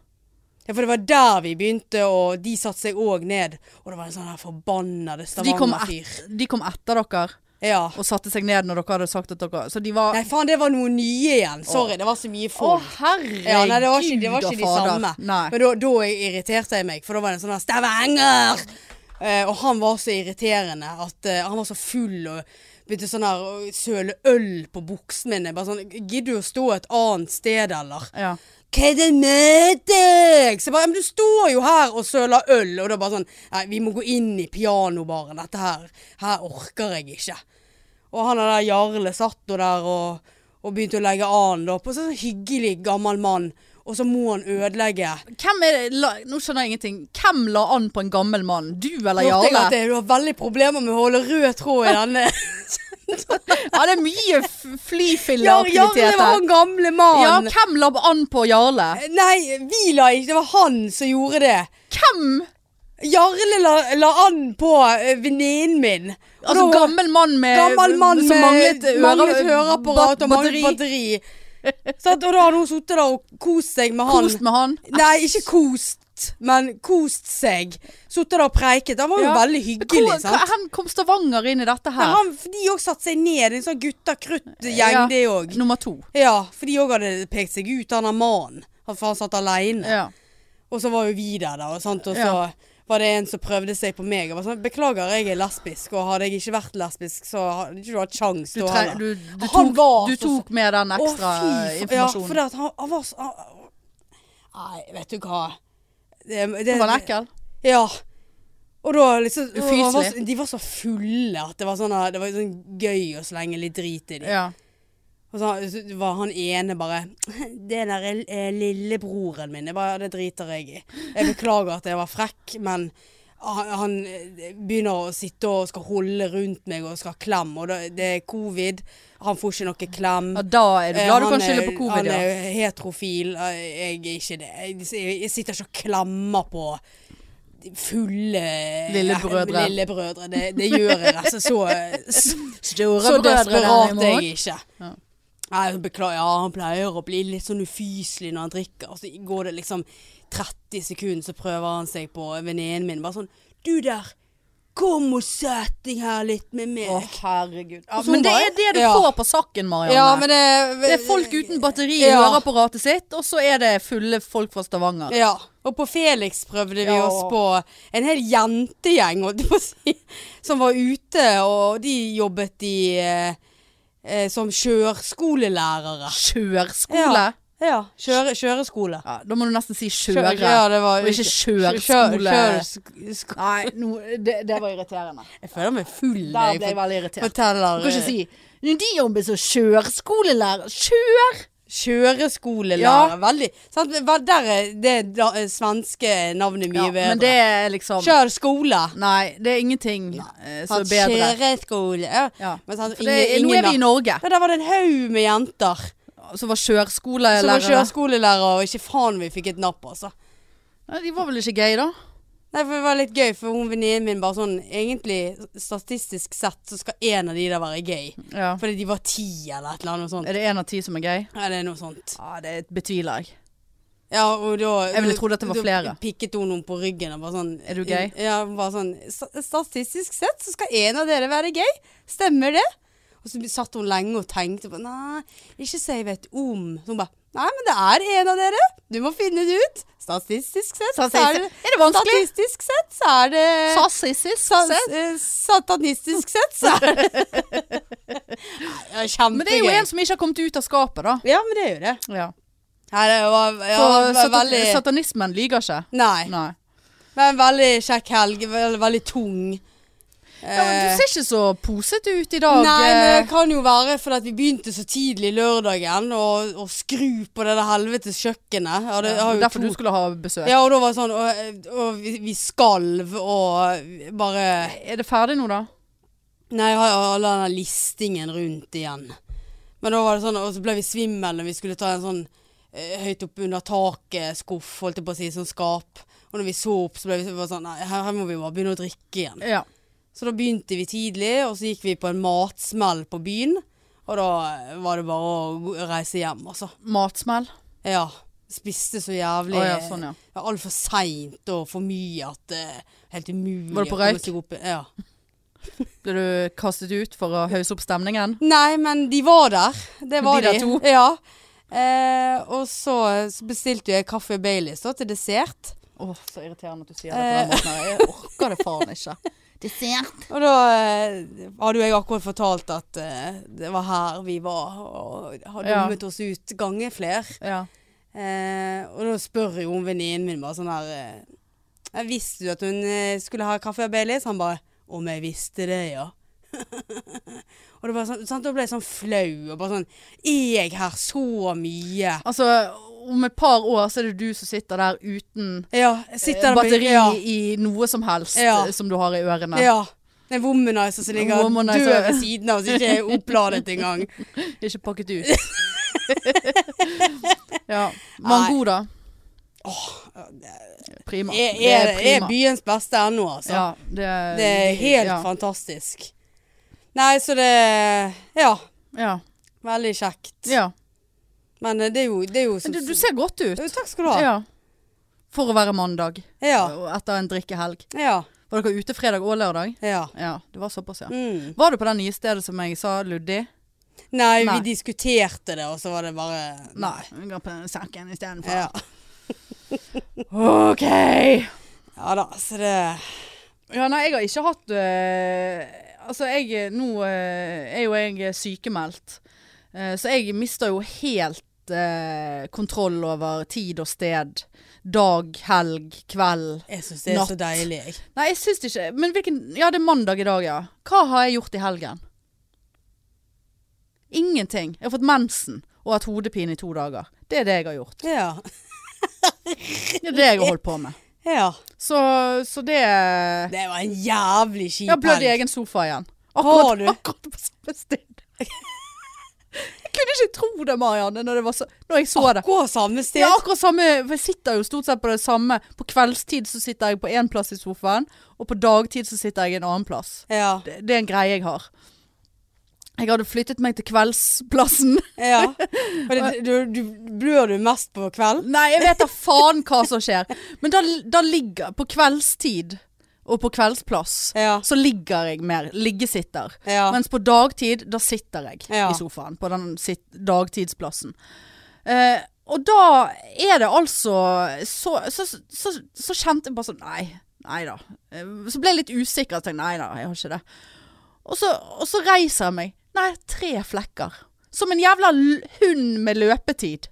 Ja, for det var der vi begynte, og de satte seg òg ned. Og det var en sånn her forbannede
Så de kom,
Stavanger-fyr.
et, de kom etter dere
Ja.
og satte seg ned når dere hadde sagt at dere Så de var
Nei, faen, det var noen nye igjen. Sorry, det var så mye
Å,
folk.
herregud
Ja, nei, det var ikke, det var
og
ikke de
fader.
samme.
Nei.
Men da, da irriterte jeg meg, for da var det en sånn her Stavanger! Eh, og han var så irriterende at eh, han var så full og begynte sånn her å søle øl på buksene mine. Bare sånn Gidder du å stå et annet sted, eller?
Ja.
Hva er det med deg? Så jeg bare, men du står jo her og søler øl, og da bare sånn Nei, vi må gå inn i pianobaren. Dette her, her orker jeg ikke. Og han der Jarle satt nå der og, og begynte å legge an da, på en sånn hyggelig gammel mann. Og så må han ødelegge.
Hvem er det, la, Nå skjønner jeg ingenting. Hvem la an på en gammel mann? Du eller
Hørte jeg
Jarle?
at det- Du har veldig problemer med å holde rød tråd i denne.
Ja, det er mye f-
Jar- Jarle
flyfilleaktivitet
var
her.
han gamle
Ja,
mannen.
hvem la an på Jarle?
Nei, vi la ikke. Det var han som gjorde det.
Hvem?
Jarle la, la an på eh, venninnen min. Og
Altså
da-
gammel mann med
Gammel mann
som
med
manglet, øre-
Eh, manglet høreapparat
bat-
og manglet
batteri.
batteri. Sant? og da har hun sittet der og kost seg med han.
Kost med han.
Nei, ikke kost, men kost seg. Sittet der og preiket. Han var jo
Ja.
veldig hyggelig,
Hvor- hva-
sant.
Hen kom Stavanger inn i dette
Men
her?
han, de òg satte seg ned, en sånn gutta-krutt-gjeng,
Ja.
det òg.
Nummer to.
Ja, for de òg hadde pekt seg ut, han der mannen. Han- For han satt aleine.
Ja.
Og så var jo vi der, da. Og, sant? og så
Ja.
var det en som prøvde seg på meg. Og var sånn, Beklager, jeg er lesbisk, og hadde jeg ikke vært lesbisk, så hadde ikke du hatt sjans.
Du,
da
tre,
heller.»
du, du,
Han
tok,
var
du
så- sånn,
tok med den
Å,
ekstra
fy fa- Ja, for
informasjonen.
det at han, han var så han, Nei, vet du hva. Det,
Hun
det,
var ekkel.
Ja. Og da liksom og han var,
Ufyselig.
så- De var så fulle at det var sånn, her- det var sånn gøy å slenge litt drit i dem.
Ja.
Og så så var han ene bare 'Det der er eh, lillebroren min.' Jeg bare, 'Det driter jeg i'. Jeg beklager at jeg var frekk, men han, han eh, begynner å sitte og skal holde rundt meg og skal ha klem, og da- det er covid. Han får ikke noe klem.
ja, da er du
Eh,
glad du
han
kan
er-
skylde på covid,
Han
ja.
er heterofil. eh, Jeg er ikke det. Jeg s- Jeg sitter ikke og klemmer på fulle
Lillebrødre.
lillebrødre. Det, det gjør jeg altså så, så,
Store
så
brødre
desperat
derimot.
er jeg ikke.
Ja.
Nei, jeg beklager, ja, han pleier å bli litt sånn ufyselig når han drikker. Og så går det liksom 30 sekunder, så prøver han seg på venninnen min. Bare sånn Du der, kom og sett deg her litt med meg.
Å, herregud. Ja,
Og så
men
hun
det
bare-
er det du
Ja.
får på saken, Marianne.
det
det er folk uten batteri i
Ja.
høreapparatet sitt, og så er det fulle folk fra Stavanger.
Ja, og på Felix prøvde vi
Ja.
oss på en hel jentegjeng holdt jeg på å si, som var ute, og de jobbet i eh, eh, som kjørskolelærere.
Kjørskole? Ja.
Ja, kjøre, kjøreskole.
da må du nesten si
Kjøre,
kjøre.
ja, det var,
og ikke
kjør-
kjørskole.
kjør- sko-
Nei, nå- det, det var irriterende.
Jeg føler meg full.
Der ble jeg
jeg
veldig irritert.
forteller. eh,
Du kan ikke si Når de jobber som kjørskolelærer Kjør!
Kjøreskolelærer.
Ja.
Veldig. Sant? men hva- Der er det da, eh, svenske navnet mye
Ja,
bedre.
men det er liksom
Kjørskole.
Nei, det er ingenting eh, som er bedre.
Kjøreskole. Ja.
Ja.
Men sant,
For det, er- nå
ingen
er vi i Norge,
Ja, der var det en haug med jenter
som var
som var
kjørskolelærere.
kjøreskolelærere, og ikke faen vi fikk et napp, altså.
Nei, de var vel ikke gøy, da?
Nei, for det var litt gøy, for hun venninnen min bare sånn Egentlig, statistisk sett, så skal én av de der være gay.
Ja.
Fordi de var ti eller et eller annet sånt.
Er det én av ti som er gay?
Ja, det er noe sånt.
Ja, det betviler jeg.
Ja, og da
Jeg ville trodd at det var
da
flere.
pikket hun noen på ryggen og bare sånn
Er du gay?
Ja, hun bare sånn "Sta- Statistisk sett så skal én av dere være gay. Stemmer det? Og så satt hun lenge og tenkte på Nei, ikke så jeg vet om. Så hun bare Nei, men det er en av dere. Du må finne det ut. Statistisk sett så
Statistisk- er det vanskelig?
Statistisk sett så er det
Eh, Sassistisk
sa-
sett.
eh, Satanistisk sett så er det Nei, Kjempegøy.
Men det er jo en som ikke har kommet ut av skapet, da.
Ja, men det er jo det.
Ja.
Nei, det var, ja,
For
det var
satan
veldig
satanismen lyver ikke.
Nei.
Nei.
Men veldig kjekk helg. Veldig, veldig tung.
Ja, men du
Eh,
ser ikke så posete ut i dag.
Nei, men det
eh.
kan jo være fordi at vi begynte så tidlig lørdagen og, og skru på det der helvetes kjøkkenet. Ja, det,
Ja,
har jo
Derfor
to-
du skulle ha besøk.
ja, og da var det sånn Og, og vi, vi skalv og bare
Er det ferdig nå, da?
Nei, jeg har jo all den listingen rundt igjen. Men da var det sånn, og så ble vi svimmel når vi skulle ta en sånn eh, høyt opp under taket-skuff, holdt jeg på å si, sånn skap. Og når vi så opp, så ble vi så- bare sånn Nei, her, her må vi bare begynne å drikke igjen.
Ja.
Så da begynte vi tidlig, og så gikk vi på en matsmell på byen. Og da eh, var det bare å gå- reise hjem, altså.
Matsmell.
Ja. Spiste så jævlig.
Å ja, sånn, ja.
ja, Altfor seint og for mye at det er helt umulig
Var det på
å komme
røyk?
seg opp i- Ja.
Ble du kastet ut for å hausse opp stemningen?
Nei, men de var der. Det var
De
de.
der to?
Ja. Eh, og så så bestilte jeg kaffe Baileys da, til dessert.
Å, så irriterende at du sier det på den måten. her. Jeg orker det faen ikke. Dessert.
Og da eh, hadde jo jeg akkurat fortalt at eh, det var her vi var, og har
Ja.
dummet oss ut gange fler.
Ja.
Eh, og da spør jo hun venninnen min bare sånn her eh, «Jeg Visste du at hun eh, skulle ha kaffe og Baileys? Han bare Om jeg visste det, ja. og det var sånn, sant? Da ble jeg sånn flau og bare sånn Er jeg her så mye?
Altså, om et par år så er det du som sitter der uten
Ja, jeg sitter
eh,
der med-
batteri
ja,
i noe som helst
Ja.
eh, som du har i ørene.
Ja. Det er en womanizer som ligger
Womanizer.
død ved siden av oss, ikke er oppladet engang.
Ikke pakket ut. ja. Mango, da. Prima.
Er,
Det
er, er
prima.
byens beste ennå, altså.
ja, det,
Det er helt
ja.
fantastisk. Nei, så det Ja.
Ja.
Veldig kjekt.
ja.
Men eh, det er jo, det er jo
Men
som
du, du ser godt ut.
Jo, Takk skal du ha. Ja.
Ja. For å være mandag.
Ja.
Og Etter en drikkehelg.
ja.
Var dere ute fredag og lørdag? Ja, det var såpass, ja.
Mm.
Var du på det nye stedet som jeg sa, Luddi?
Nei,
Nei.
vi diskuterte det, og så var det bare
Vi går på saken istedenfor.
Ja.
OK.
ja da, så det
Ja, nei, jeg har ikke hatt øh, Altså, jeg Nå øh, er jo jeg sykemeldt. Eh, så jeg mister jo helt øh, kontroll over tid og sted. Dag, helg, kveld.
Jeg syns det er
Natt.
så deilig, jeg.
Nei, jeg syns det ikke. Men hvilken Ja, det er mandag i dag, ja. Hva har jeg gjort i helgen? Ingenting. Jeg har fått mensen og hatt hodepine i to dager. Det er det jeg har gjort.
Ja.
Det er det jeg har holdt på med.
ja.
Så, så det Jeg
Det var en jævlig kjip
har blødd i egen sofa igjen.
Har
Akkurat,
du?
akkurat på samme sted. Jeg kunne ikke tro det, Marianne, når, det var så, når jeg så det.
Gå samme sted.
Ja, akkurat samme. for Jeg sitter jo stort sett på det samme. På kveldstid så sitter jeg på én plass i sofaen, og på dagtid så sitter jeg i en annen plass.
Ja.
det, det er en greie jeg har. Jeg hadde flyttet meg til kveldsplassen.
ja. Og det, du, du, blør du mest på kvelden?
Nei, jeg vet da faen hva som skjer. Men da, da ligger På kveldstid og på kveldsplass
Ja.
så ligger jeg mer. Liggesitter.
Ja.
Mens på dagtid, da sitter jeg
Ja.
i sofaen. På den sit dagtidsplassen. Eh, og da er det altså så, så, så, så kjente jeg bare sånn Nei, nei da. Eh, Så ble jeg litt usikker og tenkte nei da, jeg har ikke det. Og så, og så reiser jeg meg. Nei, tre flekker. Som en jævla l- hund med løpetid.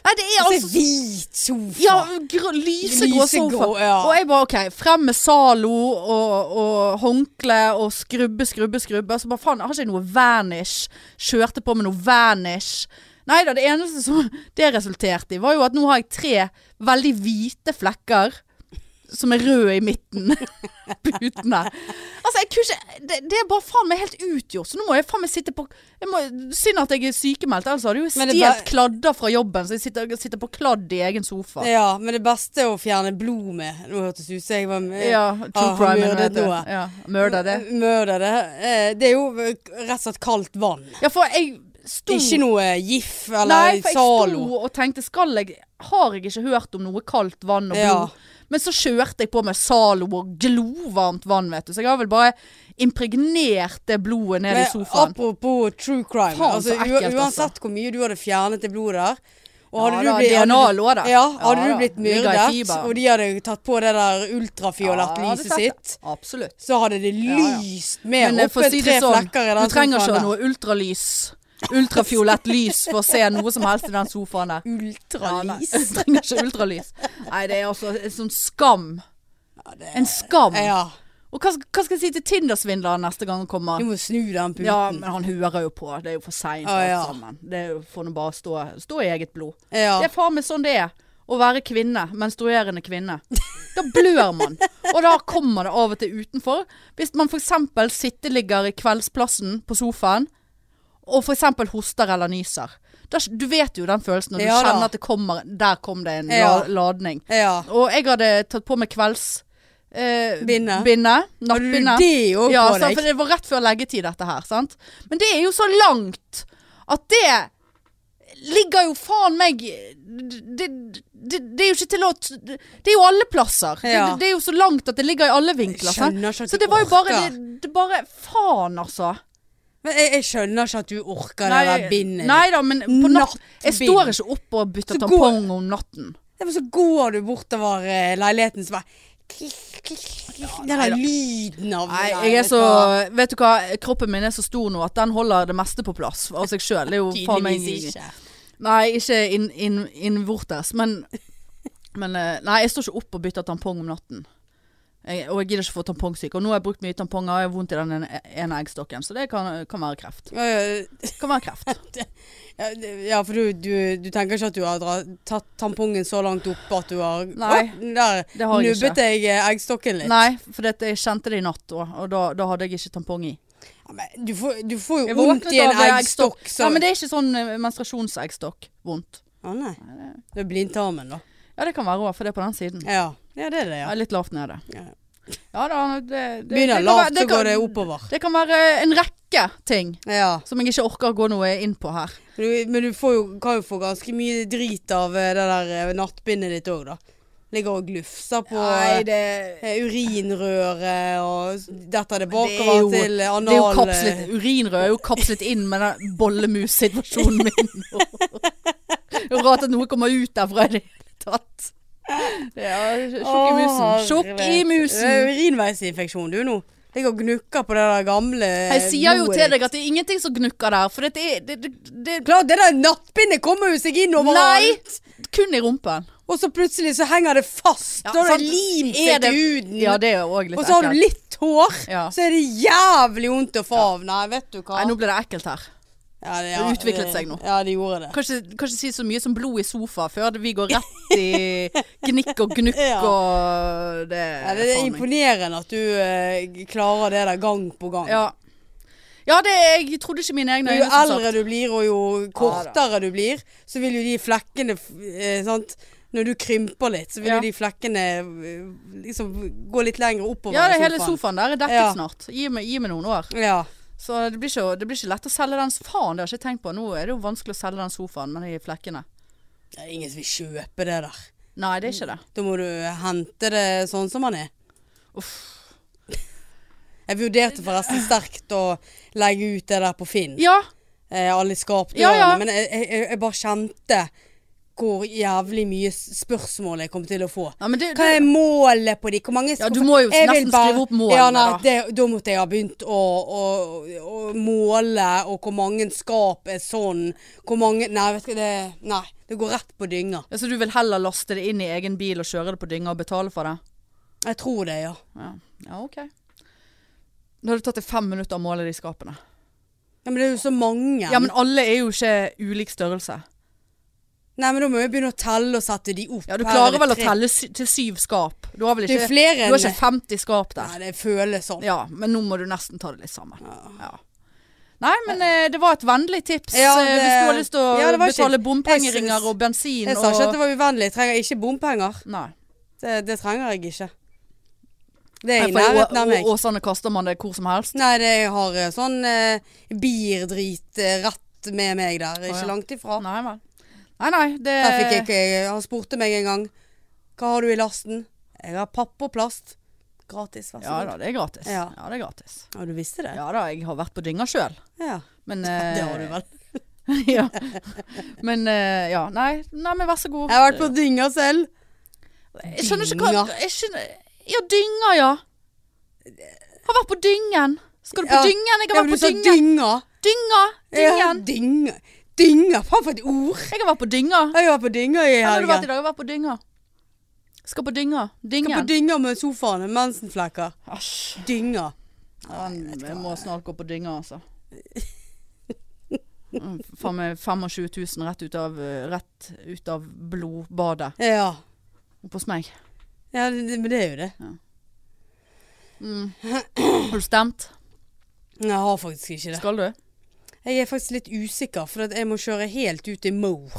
Nei, det er
Se
altså
hvit sofa.
ja, grå, lysegrå
Lysegrå,
sofa.
ja.
Og jeg bare OK, frem med Zalo og, og håndkle og skrubbe, skrubbe, skrubbe. Så bare faen, jeg har ikke jeg noe vanish? Kjørte på med noe vanish. Nei da, det eneste som det resulterte i, var jo at nå har jeg tre veldig hvite flekker som er rød i midten. Putene. Altså, jeg kunne ikke det, det er bare faen meg helt utgjort. Så nå må jeg faen meg sitte på jeg må, Synd at jeg er sykemeldt, ellers hadde jeg jo
Men det
stjålet
bare-
kladder fra jobben. Så jeg sitter, sitter på kladd i egen sofa.
Ja, men det beste er å fjerne blod med. Nå hørtes det ut som jeg var med.
Ja, true
har
crime.
mørdet
vet du.
noe.
Ja, mørder det.
Mørder det. Eh, Det er jo rett og slett kaldt vann.
Ja, for jeg sto
Ikke noe
eh,
GIF eller
Nei, for jeg
Zalo.
sto og tenkte skal jeg, Har jeg ikke hørt om noe kaldt vann og
Ja.
blod? Men så kjørte jeg på med Zalo og glovarmt vann, vet du. Så jeg har vel bare impregnert det blodet ned i
Men
sofaen.
apropos true crime.
Faen,
altså,
så ekkelt,
u- uansett hvor mye du hadde fjernet det blodet der og
Ja
hadde
da,
du blitt,
DNA
hadde du-
lå der.
Ja, hadde
Ja da,
du blitt
ligger i
myrdet,
fiberen.
og de hadde tatt på det der ultrafiolett
Ja, det
lyset
setter jeg.
sitt,
Absolutt.
så hadde det
ja.
lyst mer
Men eh,
opp
for å
enn
si
tre
det sånn,
flekker i den
du trenger
sofaen
ikke
der.
noe ultralys. Ultrafiolett lys for å se noe som helst i den sofaen der.
Ultralys.
Ja, nei, du trenger ikke ultralys. Nei, det er altså en sånn skam.
Ja, det-
En skam.
Ja.
Og hva, hva skal jeg si til Tinder-svindleren neste gang han kommer?
Du må snu den puten.
Ja, men han hører jo på. Det er jo for seint
Å, ja.
alt sammen. Det er jo- får nå bare stå, stå i eget blod.
Ja.
Det er faen meg sånn det er. Å være kvinne, menstruerende kvinne. Da blør man. Og da kommer det av og til utenfor. Hvis man f.eks. ligger i kveldsplassen på sofaen, og f.eks. hoster eller nyser. Da, du vet jo den følelsen når du
Ja da.
kjenner at det kommer Der kom det en
Ja.
la, ladning.
ja.
Og jeg hadde tatt på meg kvelds... Eh,
Binde.
Binde.
Har du
Nattbinde
det òg
ja,
på
sant,
deg?
for det var rett før leggetid dette her, sant? Men det er jo så langt at det ligger jo faen meg Det, det, det er jo ikke til å Det er jo alle plasser.
Ja.
Det, det er jo så langt at det ligger i alle vinkler. Sant?
Skjønner ikke at
Så
du
det var jo bare
orker.
det, det bare Faen, altså.
Men jeg, jeg skjønner ikke at du orker det der bindet.
nei da, men på natt, jeg
Nattbind.
står ikke oppe og bytter
Så
tampong om natten.
Derfor så går du bortover eh, leiligheten som bare klikk, klikk, klikk, Den
nei
der
da.
lyden av
Nei,
Nei,
jeg er
vet du
så
hva?
Vet du hva, kroppen min er så stor nå at den holder det meste på plass av seg sjøl. Det er jo faen meg
Tydeligvis ikke.
Nei, ikke inn- inn- innvortes, men, men eh, Nei, jeg står ikke opp og bytter tampong om natten. Jeg, og jeg gidder ikke få tampongsyke. Og nå har jeg brukt mye tamponger, og jeg har vondt i den ene- ene eggstokken. Så det kan, kan være kreft.
Øh,
Kan være kreft.
ja, det- Ja, for du, du, du tenker ikke at du har dra, tatt tampongen så langt opp at du har
Nei,
Å, Der
det har jeg
nubbet jeg eh, eggstokken litt.
Nei, for dette, jeg kjente det i natt òg, og da, da hadde jeg ikke tampong i.
Ja, men du, får, du får jo
Jeg
vondt i en eggstokk.
Ja, men det er ikke sånn eh, menstruasjonseggstokk vondt.
Å, nei. Det er blindtarmen, da.
Ja, det kan være òg, for det er på den siden.
Ja, ja det er det, ja.
Ja, litt lavt nede.
Ja.
Ja da, det, det
Begynner
det kan være-
lavt,
det
så
kan-
går det oppover.
Det kan være en rekke ting
Ja.
som jeg ikke orker å gå noe inn på her.
Men du, men du får jo, kan jo få ganske mye drit av eh, det der eh, nattbindet ditt òg, da. Ligger og glufser på
Nei, det,
eh, urinrøret og s- detter det
Men det er
bakover
jo-
til eh,
det er jo
anal...
kapslet Urinrød er jo kapslet inn med den bollemus-situasjonen min nå. Det er Rart at noe kommer ut derfra i det hele tatt. Det er Sjokk i musen. Sjokk i musen.
Urinveisinfeksjon du nå. Ligger og gnukker på det der gamle eh,
Jeg sier jo til
blodet
deg at det er ingenting som gnukker der, for det er, det, det, det
ditt. Klart, det der nattbindet kommer jo seg inn
Nei!
overalt!
kun i rumpen.
Og så plutselig så henger det fast.
Ja,
da har
sant.
det limt
Er
seg
det-
til huden.
Ja, det er jo òg litt
og så har du
ekkelt.
litt hår,
Ja.
så er det jævlig vondt å få av. Nei, vet du hva.
Nei, nå ble det ekkelt her.
Ja, det,
Det utviklet seg nå.
Ja, det gjorde det.
Kanskje, kanskje si så mye som blod i sofa før vi går rett i gnikk og gnukk
Ja.
og det,
Ja, det er
faen meg.
imponerende at du eh, klarer det der gang på gang.
Ja. ja, det jeg trodde ikke mine egne
Jo
øyne. som sagt.
eldre du blir, og jo kortere du blir, så vil jo de flekkene eh, sant? Når du krymper litt, så vil
Ja.
jo de flekkene eh, liksom gå litt lenger oppover
Ja, det
i
hele sofaen der er dekket
Ja.
snart. Gi meg, gi meg noen år.
Ja.
Så det blir, ikke, det blir ikke lett å selge den. Faen, det har jeg ikke tenkt på. Nå er det jo vanskelig å selge den sofaen med de flekkene.
Det er ingen som vil kjøpe det der.
Nei, det er ikke det.
Da må du hente det sånn som han er.
Uff.
Jeg vurderte forresten sterkt å legge ut det der på Finn.
Ja,
eh, alle skapdørene.
Ja, ja.
Men jeg, jeg, jeg- jeg bare kjente hvor jævlig mye s- spørsmål jeg kom til å få.
ja men det,
Hva er
det
målet på de? Hvor mange
Ja, du
skuffer-
må jo
Jeg vil
nesten skrive opp målene,
ja, nei,
da.
Det, da måtte jeg ha begynt å, å, å måle, og hvor mange skap er sånn. Hvor mange Nei, vet du, hva, det, nei, det går rett på dynga.
Ja, Så du vil heller laste det inn i egen bil og kjøre det på dynga og betale for det?
Jeg tror det, ja.
Ja, ja ok. Nå har det tatt deg fem minutter å måle de skapene.
ja men det er jo så mange.
Ja, men alle er jo ikke ulik størrelse.
Nei, men da må vi begynne å telle og sette de opp.
Ja, du
Her er
klarer
det
vel å
tre-
telle sy til syv skap. Du har vel
Det er
ikke,
jo flere
du har
enn
ikke 50 skap der.
Nei, det føles sånn.
Ja, men nå må du nesten ta det litt sammen.
Ja.
Ja. Nei, men eh, det var et vennlig tips.
Ja,
eh, Hvis du
det-
har lyst til å
Ja, det var ikke-
betale
Jeg
bompengeringer
syns-
og bensin
Jeg sa
og
ikke at det var uvennlig. Jeg trenger ikke bompenger.
Nei.
Det, det trenger jeg ikke. Det er
Nei,
i
for i Å-
nærheten av meg.
Å- Åsane kaster man det hvor som helst.
Nei, det, jeg har eh, sånn eh, bierdrit eh, rett med meg der. Ikke
ja.
langt ifra.
Nei vel. Nei, nei, det
Der fikk jeg ikke Han spurte meg en gang Hva har du i lasten? Jeg har papp og plast. Gratis, vær så
Ja
god.
da, det er gratis. Ja,
Ja.
det er gratis.
Ja, du visste det?
Ja Eh, da, jeg har vært på dynga sjøl.
Ja.
Men
Det har du vel.
vel. ja. Men eh, ja, nei, nei, men vær så god.
Jeg har vært på dynga selv.
Jeg skjønner ikke hva jeg skjønner, Ja, dynga, ja. Har vært på dyngen. Skal du på
Ja.
dyngen? Jeg
Ja,
har
men
vært
du
på
sa
dyngen.
dynga.
Dynga!
Ja,
Dyngen.
dynga. Dynga. Faen for et ord.
Jeg har vært på dynga.
Jeg har vært på dynga i
Hvor har du
helga.
vært i dag? Jeg har vært på dynga. Skal på dynga.
Jeg er På
Dyngen.
dynga med sofaen. Mensenflekker.
Æsj.
Dynga.
Jeg må snart gå på dynga, altså. Mm, Faen meg 25 000 rett ut av, eh, rett ut av blodbadet
Ja.
oppe hos meg.
ja det, det- men det er jo det.
Mm. Har du stemt?
Nei, jeg har faktisk ikke det.
Skal du?
Jeg er faktisk litt usikker, for at jeg må kjøre helt ut i Moor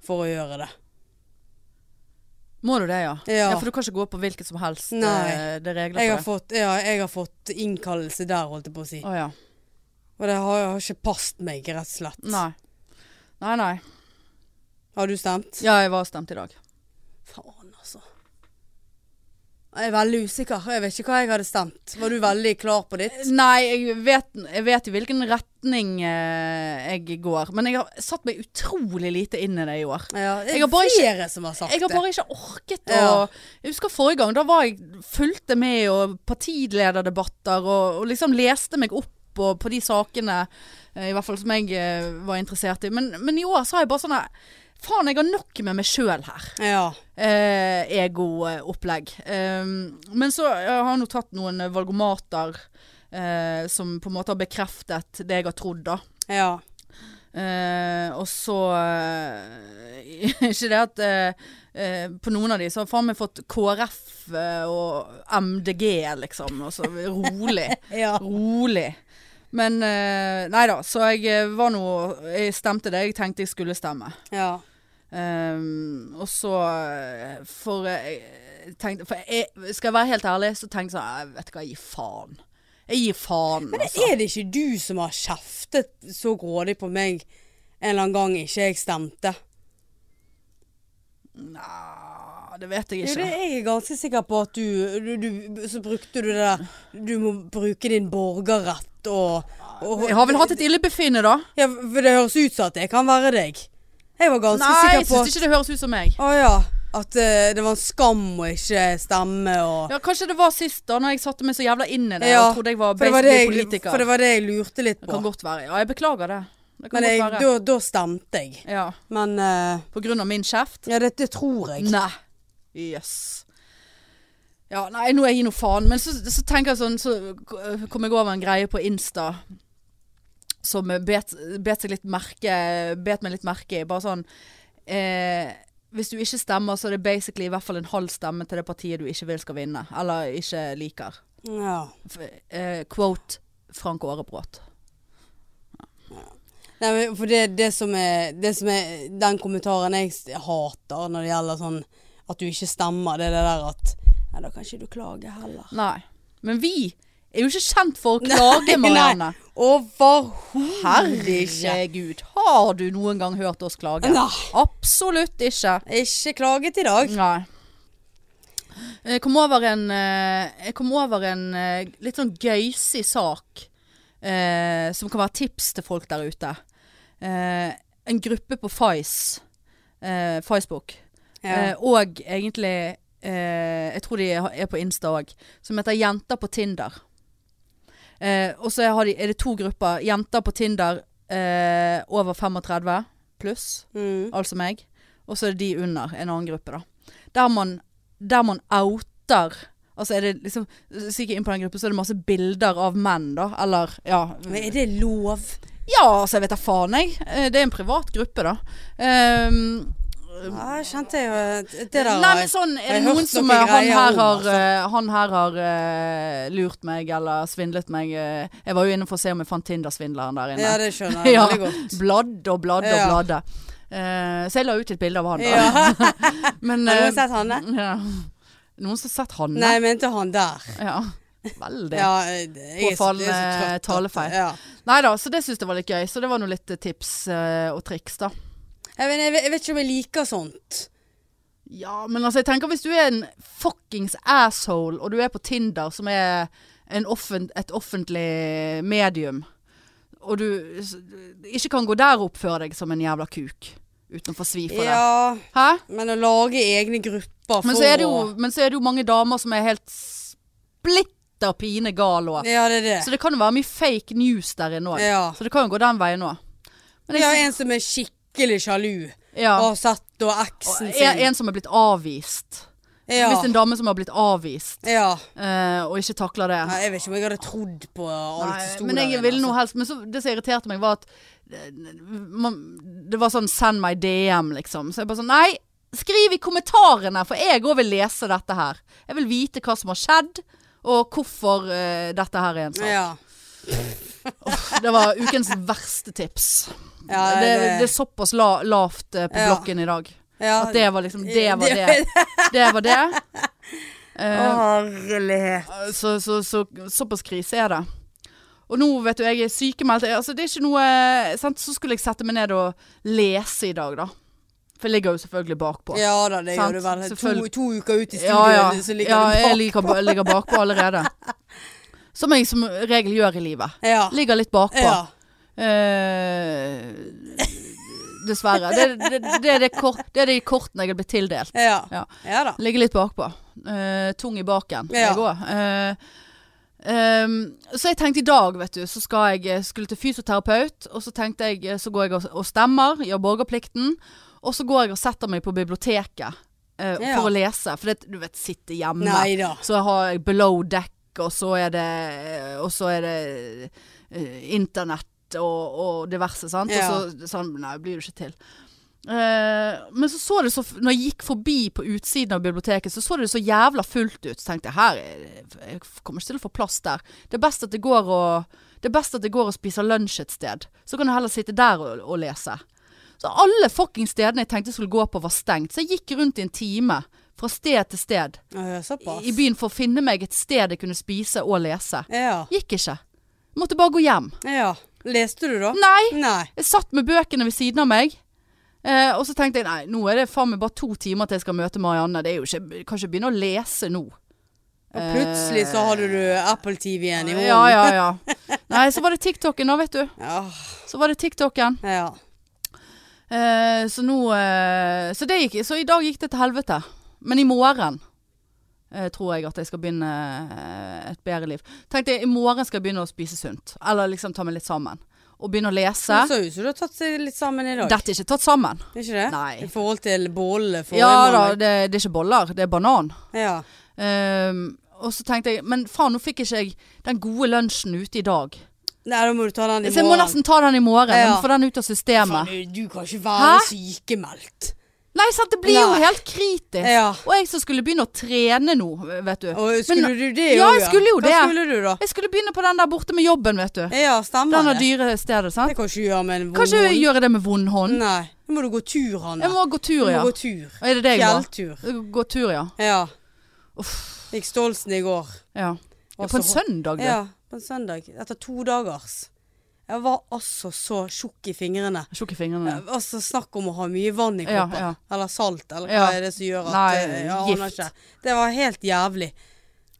for å gjøre det.
Må du det, ja?
Ja.
For du kan ikke gå på hvilket som helst? eh,
Nei.
Det er regler
Jeg har
for det.
fått, ja, jeg har fått innkallelse der, holdt jeg på å si.
Å ja.
Og det har, har ikke passet meg, rett og slett.
Nei. Nei, nei.
Har du stemt?
Ja, jeg var stemt i dag.
Faen, altså. Jeg er veldig usikker. Jeg vet ikke hva jeg hadde stemt. Var du veldig klar på ditt?
Nei, jeg vet, jeg vet i hvilken retning eh, jeg går. Men jeg har satt meg utrolig lite inn i det i år.
Ja, det
Jeg
er
har bare ikke-
flere som har sagt
Jeg har
det.
bare ikke orket å
Ja.
Jeg husker forrige gang, da var jeg fulgte med og partilederdebatter og, og liksom leste meg opp og, på de sakene eh, i hvert fall som jeg eh, var interessert i. Men, men i år så har jeg bare sånn her, Faen, jeg har nok med meg sjøl her.
Ja.
eh, ego-opplegg. Um, men så jeg har jeg nå tatt noen eh, valgomater eh, som på en måte har bekreftet det jeg har trodd, da.
ja.
Eh, og så eh, Ikke det at eh, eh, På noen av de så har faen meg fått KrF eh, og MDG, liksom. Og så rolig.
Ja.
Rolig. Men eh, nei da, så jeg eh, var nå Jeg stemte det jeg tenkte jeg skulle stemme.
ja.
Ehm, og så eh, For, eh, jeg tenkte, for jeg, Skal jeg være helt ærlig, så tenkte jeg sånn Jeg vet du hva, jeg gir faen. Jeg gir faen, altså.
Er det ikke du som har kjeftet så grådig på meg en eller annen gang ikke jeg stemte?
Nja, det vet jeg
Jo, det
ikke.
er jeg ganske sikker på at du, du, du Så brukte du det der Du må bruke din borgerrett og, og
Jeg har vel hatt et illebefinnende, da.
ja, For det høres ut som at det kan være deg. Jeg var ganske
Nei, jeg
sikker på
syns ikke det høres ut som meg.
Å ja. At eh, det var en skam å ikke stemme og
Ja, Kanskje det var sist, da når jeg satte meg så jævla inn i det
Ja,
og trodde jeg var
for, det var det
basically
jeg,
politiker.
for det var det jeg lurte litt
Det kan
på.
godt være. Ja, jeg beklager det. Det kan
Men jeg,
godt være.
da, da stemte jeg.
Ja,
Men eh,
På grunn av min kjeft.
Ja, det, det tror jeg.
Nei. Jøss. Ja, nei, nå er jeg i noe faen. Men så, så tenker jeg sånn, så kom jeg over en greie på Insta som bet, bet, seg litt merke, bet meg litt merke i. Bare sånn eh, Hvis du ikke stemmer, så er det basically i hvert fall en halv stemme til det partiet du ikke vil skal vinne. Eller ikke liker.
Ja.
F eh, quote Frank Aarebrot.
Nei, men for det, det, som er, det som er den kommentaren jeg s- hater når det gjelder sånn at du ikke stemmer, det er det der at Nei, da kan ikke du klage heller.
Nei. Men vi er jo ikke kjent for å klage,
Nei,
Marianne.
Overhodet ikke.
Herregud, har du noen gang hørt oss klage?
Nei.
Absolutt ikke.
Ikke klaget i dag.
Nei. Jeg kom over en, eh, jeg kom over en eh, litt sånn gøysig sak eh, som kan være tips til folk der ute. Eh, en gruppe på Fice, eh, Facebook, eh,
Ja.
og egentlig eh, Jeg tror de er på Insta òg, som heter Jenter på Tinder. Eh, og så har de, er det to grupper. Jenter på Tinder eh, over 35 pluss
Mm.
altså meg, og så er det de under, en annen gruppe da. Der man, der man outer, altså er det liksom, hvis jeg ikke er inn på den gruppen, så er det masse bilder av menn da, eller, ja.
Men er det lov?
Ja, altså jeg vet da faen jeg. Eh, Det er en privat gruppe da. Ehm,
Ja, jeg kjente jo Det der
Nei, men sånn,
har
er det
jeg hørt
noen som
noen
eh, han
greier
her,
om,
har,
altså.
eh, han her har eh, lurt meg eller svindlet meg? eh, jeg var jo inne for å se om jeg fant Tinder-svindleren der inne.
Ja, det skjønner jeg
Ja.
veldig godt.
Bladd og bladd og
Ja.
bladde. Eh, så jeg la ut et bilde av han. da.
Ja. Har
Men, Mm.
du
eh,
sett Hanne?
ja. Noen som har sett Hanne?
Nei, jeg mente han der.
Ja. Veldig.
Ja, jeg, jeg, er så- jeg er så
Påfallende
trøtt.
talefeil.
Ja.
Nei da, så det syns jeg var litt gøy. Så det var nå litt eh, tips eh, og triks, da.
Jeg, vet- jeg, vet- jeg vet ikke om jeg liker sånt.
Ja, men altså, jeg tenker hvis du er en fuckings asshole, og du er på Tinder, som er en offen, et offentlig medium, og du s- ikke kan gå der og oppføre deg som en jævla kuk, uten å få svi for det.
Ja,
Hæ?
men å lage egne grupper
Men
for
så, er det
å-
jo, men så er det jo mange damer som er helt splitter pine gal òg.
Ja, det er det.
Så det kan jo være mye fake news der inne òg.
Ja.
Så det kan jo gå den veien òg. Men
Vi har
jeg,
en som er skikkelig sjalu.
sy- ja.
Og har sett da
Og
eksen
en,
sin.
en som er blitt avvist.
ja.
Hvis en dame som har blitt avvist,
ja.
eh, og ikke takler det.
Nei, jeg vet ikke om jeg hadde trodd på alt
Nei,
som sto
men
der.
jeg
inne,
ville noe
altså.
helst Men så, det som irriterte meg, var at eh, man, det var sånn 'send meg DM', liksom. Så jeg bare sånn Nei, skriv i kommentarene, for jeg òg vil lese dette her. Jeg vil vite hva som har skjedd, og hvorfor eh, dette her er en sak.
altså. ja.
Det var ukens verste tips.
Ja,
det, det, er såpass la, lavt eh, på
Ja.
blokken i dag.
ja.
At det var liksom Det var det. Det var det.
Å,
Eh,
herlighet.
så, så, så, såpass krise er det. Og nå vet du, jeg er sykemeldt. Jeg- Altså, det er ikke noe sant? Så skulle jeg sette meg ned og lese i dag, da. For jeg ligger jo selvfølgelig bakpå.
Ja da, det
Sant,
gjør du vel. To,
selvfølgelig.
to uker ut i studio,
ja, ja.
så ligger
ja
du
jeg
bak.
ligger, jeg ligger bakpå allerede. Som jeg som regel gjør i livet.
Ja.
Ligger litt bakpå.
ja.
Eh, dessverre. Det, det, det, er det, kort, det er de kortene jeg er blitt tildelt.
Ja.
Ja.
ja da.
Ligge litt bakpå. Eh, tung i baken.
Ja.
Jeg òg. Eh, ehm, så jeg tenkte i dag, vet du, så skal jeg, eh, skulle til fysioterapeut. Og så tenkte jeg, eh, så går jeg og, og stemmer, gjør borgerplikten. Og så går jeg og setter meg på biblioteket eh,
Ja.
for å lese. For det, du vet, sitte hjemme.
Nei da.
Så har jeg below deck, og så er det, og så er det eh, internett og, og diverse, sant?
Ja.
Og så sånn, nei, blir det ikke til. Eh, men så så det så, når jeg gikk forbi på utsiden av biblioteket, så så det så jævla fullt ut. Så tenkte jeg, her, er- jeg kommer ikke til å få plass der. Det er best at jeg går og, det er best at jeg går og spiser lunsj et sted. Så kan jeg heller sitte der og, og lese. Så alle fucking stedene jeg tenkte jeg skulle gå på var stengt. Så jeg gikk rundt i en time, fra sted til sted
Ja, Såpass.
i byen for å finne meg et sted jeg kunne spise og lese.
Ja.
Gikk ikke. Måtte bare gå hjem.
ja. Leste du, da?
Nei!
Nei.
Jeg satt med bøkene ved siden av meg. Eh, og så tenkte jeg nei, nå er det faen meg bare to timer til jeg skal møte Marianne. Det er jo ikke, jeg kan ikke begynne å lese nå.
Og plutselig så hadde du Apple TV igjen i hånden.
Ja, ja, ja. Nei, så var det TikToken da, vet du.
Ja.
Så var det TikToken.
Ah, ja.
Eh, så nå eh, så, det gikk, så i dag gikk det til helvete. Men i morgen eh, tror jeg at jeg skal begynne eh, et bedre liv. Tenkte jeg, i morgen skal jeg begynne å spise sunt. Eller liksom ta meg litt sammen. Og begynne å lese.
Det så ut som du har tatt seg litt sammen i dag.
Dette er ikke tatt sammen.
Er ikke det?
Nei.
I forhold til bålene forrige
Ja da,
mandag.
det, det er ikke boller, det er banan.
Ja.
Ehm, og så tenkte jeg, men faen, nå fikk ikke jeg den gode lunsjen ute i dag.
Nei, da må du ta den i morgen.
Så jeg må nesten ta den i morgen.
Ja.
men Få den ut av systemet.
Faen, du, du kan ikke være
Hæ?
sykemeldt.
Nei, sant, det blir jo
Nei. Eh.
helt kritisk.
Ja.
Og jeg som skulle begynne å trene nå, vet du.
Og skulle
Men-
du det
Ja,
også,
jeg skulle jo det.
Hva skulle du, da?
Jeg skulle begynne på den der borte med jobben, vet du.
Ja, stemmer
Den av
det.
dyre stedet, sant?
Det kan du ikke gjøre med en vond
Kanskje
hånd.
gjøre det med vond hånd?
Nei. Nå må du gå tur, Hanne.
Jeg må gå tur,
Du
ja.
må gå tur.
Er det det jeg må?
Fjelltur.
Gå tur, ja.
Ja.
Uff.
Gikk Stolsen i går.
ja. Ja,
Var
På en
så-
søndag, du.
Ja, på en søndag. Etter to dagers. Jeg var altså så tjukk i fingrene.
Tjukk i fingrene.
Eh, Altså, snakk om å ha mye vann i
Mm. Ja,
kroppen.
ja.
Eller salt, eller hva
Ja.
er det som gjør at
Nei,
eh, jeg aner
gift.
Ikke. Det var helt jævlig.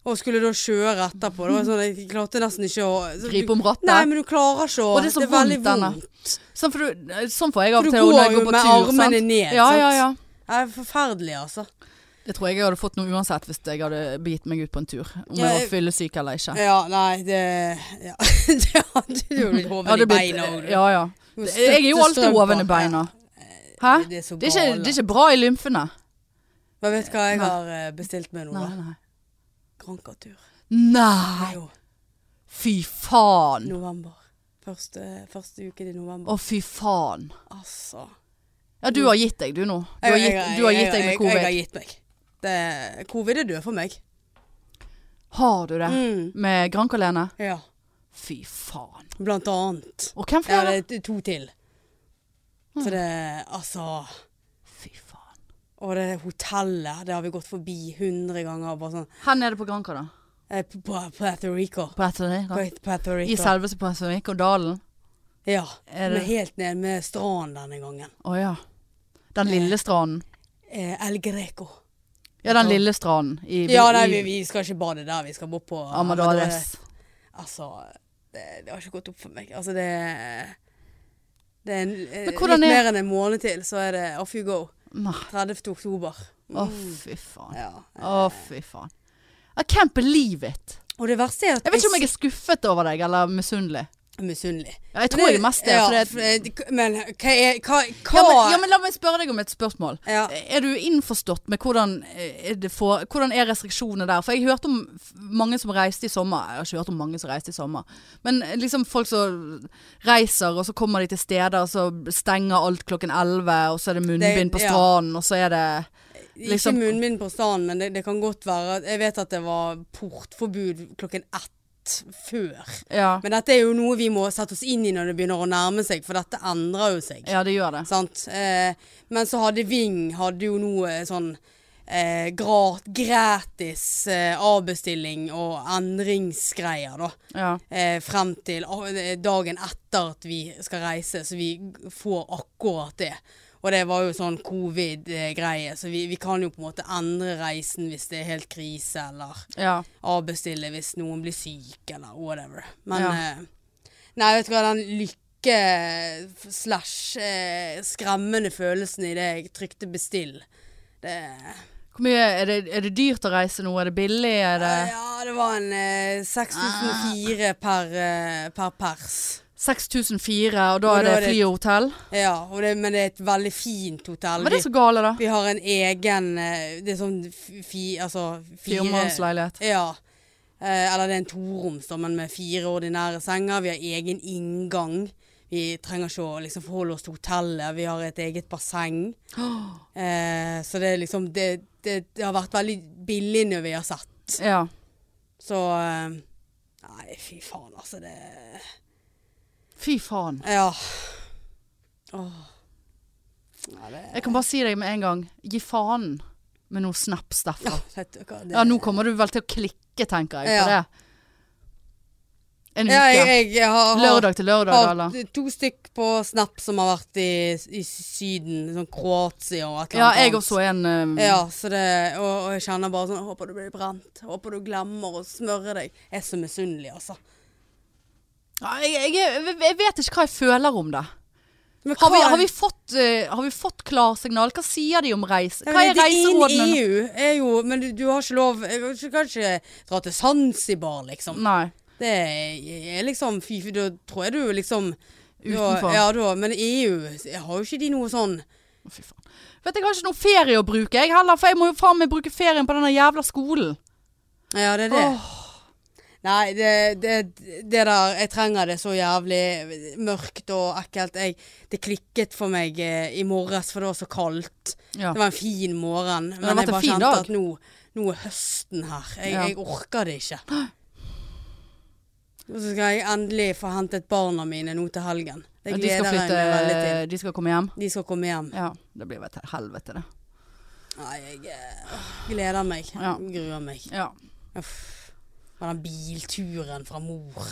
Og skulle da kjøre etterpå. Det var sånn, Jeg klarte nesten ikke å så
Gripe
du-
om rattet.
Nei, men du klarer ikke å
Og det er så
er veldig
vondt, denne.
vondt.
Sånn, for du, sånn får jeg av og
For du
til når
går
jeg
jo
går på
med
tur. sant?
armene ned.
Ja,
sant?
ja, ja.
Det er forferdelig, altså.
Det tror jeg jeg hadde fått noe uansett hvis jeg hadde begitt meg ut på en tur. Om jeg
Ja,
var
jeg-
fyllesyk eller ikke.
Ja, nei, det ja. Det hadde du jo blitt
Ja,
hoven
det
i
blir-
beina òg.
Ja, ja. Jeg er jo alltid hoven i beina. Hæ?
Eh, Det er så
Det er ikke,
gale.
det er ikke bra i lymfene.
Men vet du hva jeg
Nei.
har eh, bestilt meg nå?
Nei,
da?
nei.
Grankatur.
Nei!
Jo,
Fy faen!
november. Første, første uken i november.
Å, fy faen.
Altså.
Ja, du har gitt deg, du nå. Du
Jeg-
har
jeg-
gitt, du har
jeg-
gitt deg
jeg-
med
jeg- Jeg har
covid.
gitt meg. Det, covid er død for meg.
Har du det?
Mm.
Med Grankalene?
Ja.
Fy faen.
Blant annet.
Og hvem
Ja,
flere?
det er to til.
Mm.
Så det Altså.
Fy faen.
Og det hotellet, det har vi gått forbi hundre ganger. Bare sånn
Her nede på Granca, da?
eh, På på Puerto Rico.
På Puerto Rico?
På Puerto
I
Rico.
selveste Puerto Rico-dalen?
Ja.
Er
Men
det-
helt ned med stranden denne gangen.
Å ja. Den lille stranden.
Eh, El Greco.
Ja, den lille stranden. I,
Ja,
i-
nei, vi, vi skal ikke bade der. Vi skal bort på
Amadores.
Altså, det, det har ikke gått opp for meg. Altså, det Det er en, eh,
Men
litt
hvordan er-
mer enn en måned til, så er det off you go.
Nei.
30. oktober. Mm.
Å, fy faen.
Ja.
Å, fy faen. I can't believe it.
Og det verste er at
Jeg vet ikke om jeg er skuffet over deg, eller misunnelig.
er misunnelig.
Ja, jeg tror jeg er mest det.
Ja,
for det
for det- men hva er Hva, hva
ja, men, ja, men la meg spørre deg om et spørsmål.
Ja.
Er du innforstått med hvordan eh, er, det for, hvordan er restriksjonene der? For jeg hørte om f- mange som reiste i sommer. Jeg har ikke hørt om mange som reiste i sommer. Men eh, liksom folk som reiser, og så kommer de til steder, og så stenger alt klokken 11, og så er det munnbind på
ja.
stranden, og så er det liksom-
Ikke munnbind på stranden, men det, det kan godt være at- Jeg vet at det var portforbud klokken ett før.
Ja,
Men dette er jo noe vi må sette oss inn i når det begynner å nærme seg, for dette endrer jo seg.
ja det gjør det.
Sant? Eh, men så hadde Ving hadde jo noe sånn eh, grat, gratis eh, avbestilling og endringsgreier, da.
Ja.
Eh, frem til eh, dagen etter at vi skal reise, så vi g- får akkurat det. Og det var jo sånn covid-greie, så vi, vi kan jo på en måte endre reisen hvis det er helt krise, eller
ja.
avbestille hvis noen blir syk, eller whatever. Men
Ja.
eh, Nei, vet du hva, den lykke slash eh, skremmende følelsen i det jeg trykte bestill det,
Hvor mye, er, det, er det dyrt å reise nå? Er det billig? Er det
Ja, det var en eh, 6004 per, eh, per pers.
6004, og da
Og
er
da
det
er det-
fly og hotell?
Ja, og det, men det er et veldig fint hotell.
Var det
vi,
så gale, da?
vi har en egen eh, Det er sånn f- fi, altså fire
Firemannsleilighet.
Ja. Eh, eller det er en toroms, da, men med fire ordinære senger. Vi har egen inngang. Vi trenger ikke å liksom, forholde oss til hotellet. Vi har et eget basseng. Eh, så det er liksom det, det, det har vært veldig billig når vi har sett.
Ja.
Så eh, Nei, fy faen, altså. Det
Fy faen.
Ja. Åh. Ja, det
Jeg kan bare si deg med en gang, gi faen med noen snaps
Ja,
derfra.
vet du hva, det-
Ja, nå kommer du vel til å klikke, tenker jeg, på
Ja.
det. En
Ja, jeg,
uke.
jeg, har, har,
Lørdag til lørdag,
har
eller?
to stykk på Snap som har vært i, i Syden, sånn Kroatia og et eller
Ja,
annet.
jeg også er en eh,
sånn Ja, så det, og, og jeg kjenner bare sånn Håper du blir brent. Håper du glemmer å smøre deg. Jeg er så misunnelig, altså.
ja, jeg, jeg, jeg vet ikke hva jeg føler om det.
Men
Har vi,
hva-
har vi, fått, eh, har vi fått klarsignal? Hva sier de om reise?
Ja,
Hva
men
er reiserådene?
Din EU er jo Men du, du har ikke lov Du kan ikke dra til Zanzibar,
nå?
liksom.
Nei.
Det er liksom fy, fy, Da tror jeg du liksom da-
Utenfor.
Ja, da, men EU har jo ikke de noe sånn
Å, Fy faen. Vet du, jeg har ikke noe ferie å bruke, jeg heller. For jeg må jo faen meg bruke ferien på denne jævla skolen.
Ja, det er det.
Åh,
Nei, det, det, det der Jeg trenger det så jævlig mørkt og ekkelt. Jeg, det klikket for meg eh, i morges, for det var så kaldt.
ja.
Det var en fin morgen, men,
har vært
jeg
en
bare
fin
kjente
dag.
at nå, nå er høsten her. Jeg,
Ja.
jeg orker det ikke. Og så skal jeg endelig få hentet barna mine nå til helgen. Det
de skal
gleder jeg
flytte eh,
meg veldig til.
De skal komme hjem.
De skal komme hjem.
Ja. Det blir vel et helvete, det.
Nei, jeg eh, gleder meg.
Ja.
Gruer meg.
Ja.
Uff. Og den bilturen fra mor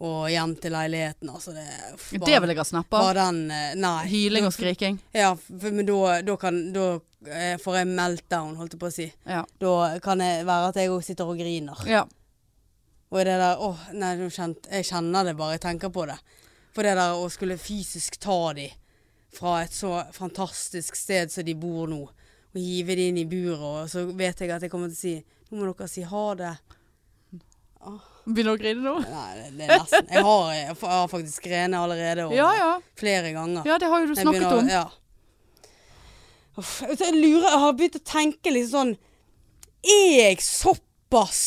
og hjem til leiligheten, altså det uff,
Det vil jeg ha snappa.
Bare den eh, Nei.
Hyling og skriking.
Ja, for, men da, da kan Da eh, får jeg meltdown, holdt jeg på å si.
Ja.
Da kan det være at jeg òg sitter og griner.
ja.
Og det der åh, nei, nå kjent, jeg kjenner det bare jeg tenker på det. For det der å skulle fysisk ta de fra et så fantastisk sted som de bor nå, og hive de inn i buret, og så vet jeg at jeg kommer til å si Nå må dere si ha det.
Begynner du å grine nå?
Nei, det- det er nesten. Jeg har, jeg har faktisk grenet allerede og
Ja, ja.
flere ganger.
Ja, det har jo du
Jeg
snakket
begynner å-
om.
Ja. Uff, jeg lurer, jeg har begynt å tenke litt sånn Er jeg såpass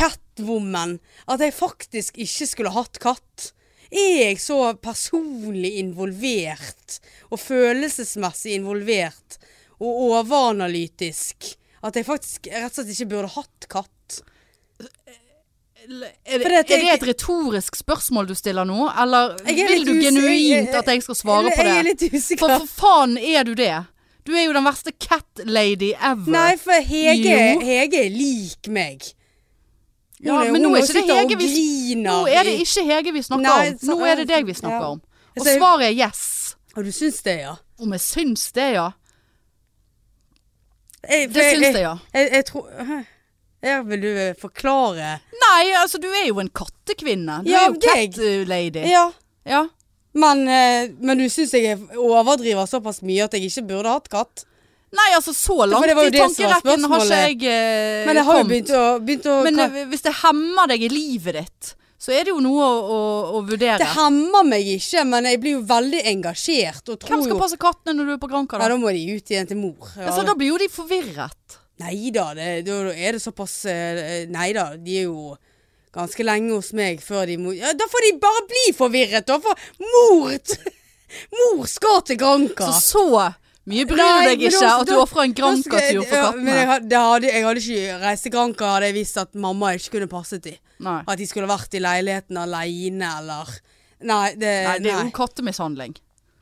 catwoman at jeg faktisk ikke skulle hatt katt? Er jeg så personlig involvert og følelsesmessig involvert og overanalytisk at jeg faktisk rett og slett ikke burde hatt katt?
Er det,
For dette-
er det et retorisk spørsmål du stiller nå, eller
Jeg er
vil
litt
du
usikker-
genuint at jeg skal svare
jeg,
på
Jeg er
det?
litt usikker.
For, for faen er du det? Du er jo den verste cat lady ever.
Nei, for Hege,
Jo.
Hege er lik meg. Hun
Ja, men nå er ikke det
sitter og
Hege vi s-
griner
Nå er det
i-
ikke Hege vi snakker
Nei,
om.
så-
Nå er det deg vi snakker
ja.
om. Og
Så jeg-
svaret er yes.
Og du syns det, ja?
Om jeg syns det, ja.
Jeg,
Det syns jeg, ja.
Jeg, jeg tror Hæ? Ja, vil du eh, forklare?
Nei, altså du er jo en kattekvinne. Du er
Ja,
jo
det er jeg.
cat uh, lady.
Ja.
Ja.
Men, eh, men du syns jeg er- overdriver såpass mye at jeg ikke burde hatt katt?
Nei, altså så langt
det var jo
i
det som var
tankerekken har ikke
spørsmålet.
jeg eh,
Men jeg har jo
kommet.
begynt å, begynt å
Men
ka-
eh, hvis det hemmer deg i livet ditt, så er det jo noe å, å, å vurdere.
Det hemmer meg ikke, men jeg blir jo veldig engasjert og tror
Hvem skal
jo
passe kattene når du er på Granca,
Ja,
da?
da må de ut igjen til mor. Ja.
Altså, da blir jo de forvirret.
Nei da, det- da da er det såpass eh, Nei da, de er jo ganske lenge hos meg før de må ja, Da får de bare bli forvirret, da! For mor t- Mor skal til Granca!
Så så mye bryr du
Nei,
deg
men
ikke
da-
at du
da-
ofrer en
Da skal jeg-
Granca-tur for
ja, Men jeg,
kattene.
had- det hadde, jeg hadde ikke reist til Granca hadde jeg visst at mamma ikke kunne passet dem.
Nei.
At de skulle vært i leiligheten aleine eller Nei, det,
nei, det er
nei.
jo kattemishandling.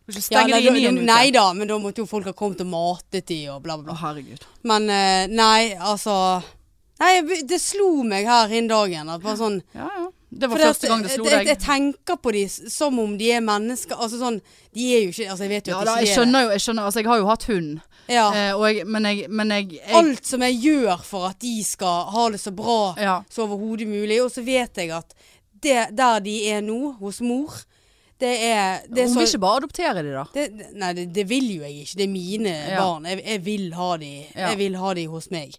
Du skal
Ja,
stenge
nei,
de inne i
da-
en uke.
Nei da, men da måtte jo folk ha kommet og matet de og bla, bla, bla.
Å, herregud.
Men eh, nei, altså Nei, jeg be- det slo meg her innen dagen. At bare sånn
Ja, ja. Det var
fordi at
første gang det slo
jeg,
deg.
jeg, jeg tenker på de s- som om de er mennesker. Altså sånn De er jo ikke Altså, jeg vet jo
Ja
at
da, jeg
de ikke er det.
skjønner jo, jeg skjønner, altså jeg har jo hatt hund,
Ja.
eh, og jeg, men jeg, men jeg, jeg
Alt som jeg gjør for at de skal ha det så bra
Ja.
så overhodet mulig. Og så vet jeg at det, der de er nå, hos mor, det er, det er
Hun
så
vil ikke bare adoptere de da.
det, det- nei, det, det vil jo jeg ikke. Det er mine
Ja.
barn. Jeg, jeg, vil ha de.
Ja.
jeg vil ha de hos meg.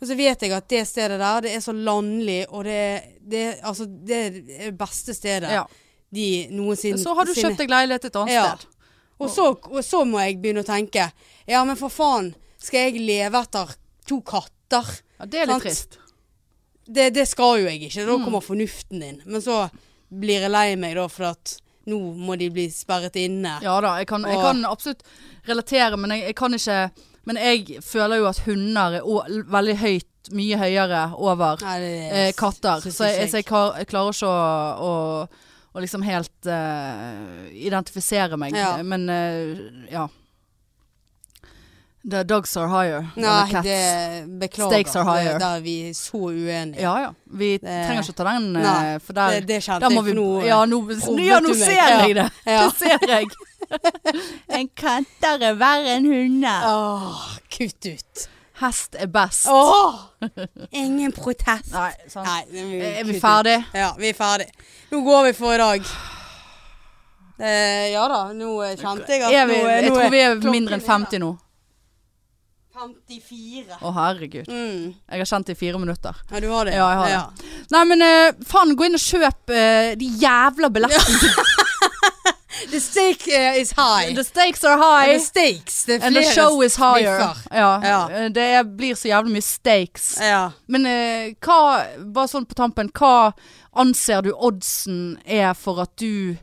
Men så vet jeg at det stedet der, det er så landlig, og det, det, altså, det er det beste stedet
Ja.
de noensinne
Så har du kjøpt deg leilighet et annet
Ja.
sted.
Og så, og så må jeg begynne å tenke. Ja, men for faen, skal jeg leve etter to katter?
Ja, det er litt
Sant.
trist.
Det, det skal jo jeg ikke.
Mm.
Da kommer fornuften inn. Men så blir jeg lei meg da, for at nå må de bli sperret inne.
Ja da, jeg kan, jeg
Og-
kan absolutt relatere, men jeg, jeg kan ikke Men jeg føler jo at hunder er å- l- veldig høyt, mye høyere over
Nei, det
eh, katter.
synes
Så jeg,
ikke
så jeg, klar, jeg klarer ikke å, å, å liksom helt eh, identifisere meg.
Ja.
Men eh, ja. The dogs are higher. than the
Nei,
cats.
det beklager.
Stakes are higher.
Det- Der er vi så uenige.
Ja ja. Vi trenger ikke å ta den, eh,
Nei,
for der,
det, det kjente
der må
jeg
vi
for noe.
Ja, nå,
probbet
ja, nå
du meg.
ser
Ja.
jeg det.
Ja.
Det ser jeg. en katter er verre enn hunder.
Åh, kutt ut.
Hest er best.
Åh! Ingen protest.
Nei, sant.
Nei, det må
Er
kutt
vi
ut.
ferdig?
Ja, vi er ferdig. Nå går vi for i dag. Eh, ja da, nå eh, kjente jeg at
Er vi,
nå, eh,
jeg
nå
tror vi er
klokken
mindre enn 50 nå. Å,
54.
herregud.
Mm.
Jeg har kjent det i fire minutter.
Ja, du har det?
Ja, jeg har det. Nei, men eh, faen, gå inn og kjøp eh, de jævla billettene.
The stake eh, is high.
The stakes are
The
high,
stakes. Det er
and the
flere
show is higher.
sniffer.
Ja,
Ja.
eh, Det er, blir så jævlig mye stakes.
Ja.
Men eh, hva, bare sånn på tampen, hva anser du oddsen er for at du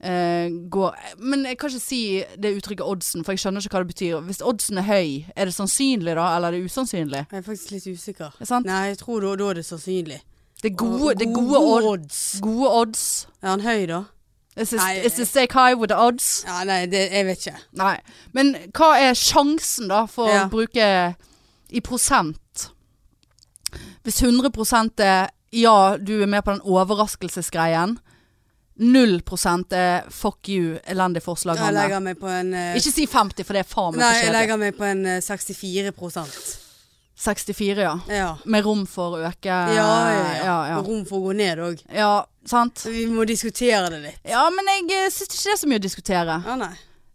eh, går Men jeg kan ikke si det uttrykket oddsen, for jeg skjønner ikke hva det betyr. Hvis oddsen er høy, er det sannsynlig da, eller er det usannsynlig?
Jeg er faktisk litt usikker.
Er sant?
Nei, jeg tror da, da er det sannsynlig.
Det er gode, det er gode,
Gode
odd- gode odds.
Er han høy, da?
Is the,
Nei,
is the stake high with the odds?
Ja, nei, det, jeg vet ikke.
Nei. Men hva er sjansen da for
Ja.
å bruke i prosent? Hvis 100 er ja, du er med på den overraskelsesgreien. 0 er fuck you, elendig forslag.
Jeg
Hanne.
legger meg på en eh,
Ikke si 50, for det er faen
Nei,
meg for
jeg
kjedelig.
legger meg på en eh, 64
64, ja.
Ja.
Med rom for å øke
Ja, ja, ja.
Eh, ja, ja.
Og rom for å gå ned òg.
ja sant?
Vi må diskutere det litt.
Ja, men jeg eh, syns ikke det er så mye å diskutere.
Ja, nei.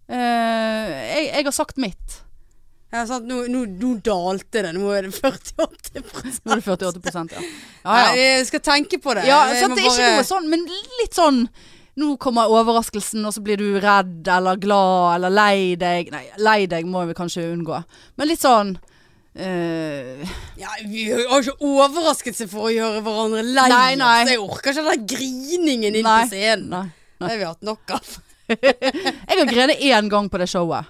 Eh, jeg, jeg har sagt mitt.
Ja, sant? Nå, nå, nå dalte det. Nå er det 48
Nå er det 48 ja. ja,
Nei,
ja.
jeg skal tenke på det.
Ja,
Jeg
så
må
at det er ikke
bare-
noe sånn, men litt sånn Nå kommer overraskelsen, og så blir du redd eller glad eller lei deg. Nei, lei deg må vi kanskje unngå. Men litt sånn eh,
ja, Vi har jo ikke overraskelse for å gjøre hverandre lei
Nei, nei.
oss. Jeg orker ikke den der griningen inn
Nei.
på scenen.
Nei.
Det har vi hatt nok av.
Jeg har grenet én gang på det showet.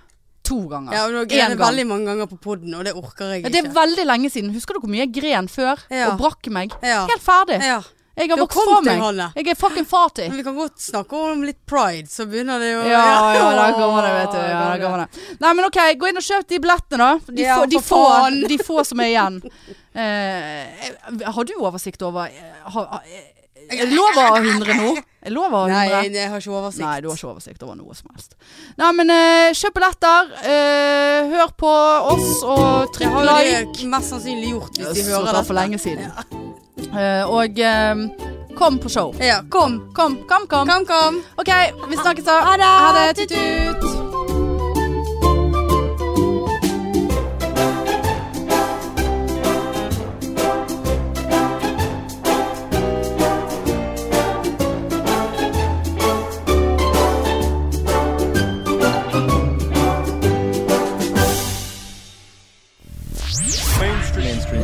To ganger.
Ja, men nå
En
greide
gang.
veldig mange ganger på poden, og det orker jeg
Ja,
ikke.
det er veldig lenge siden. Husker du hvor mye jeg gren før
Ja.
og brakk meg?
ja.
Helt ferdig.
ja.
Jeg
Du
har
har
vokst fra
kommet deg,
meg.
Hanne.
Jeg er fucking fattig.
Men vi kan godt snakke om litt pride, så begynner det jo
Ja, ja, da kommer det, vet du. Ja, da kommer det. Nei, men OK, gå inn og kjøp de billettene, da. De,
Ja,
få, de,
for
få,
faen.
de få som er igjen. Eh, har du oversikt over eh, har, har- Er det lov å ha 100 nå? Er det lov å ha
Nei,
100?
jeg har ikke oversikt.
Nei, du har ikke oversikt over noe som helst. Nei, men eh, kjøp billetter. eh, hør på oss og
Det
trykk
har jo
like.
de mest sannsynlig gjort hvis de
Så
hører
det var
dette.
for lenge siden. Eh, og eh, kom på show.
Ja, kom.
Kom, kom, kom.
Kom, kom.
OK, vi snakkes da.
Ha det.
Ha det. Tut-tut.
mainstream mainstream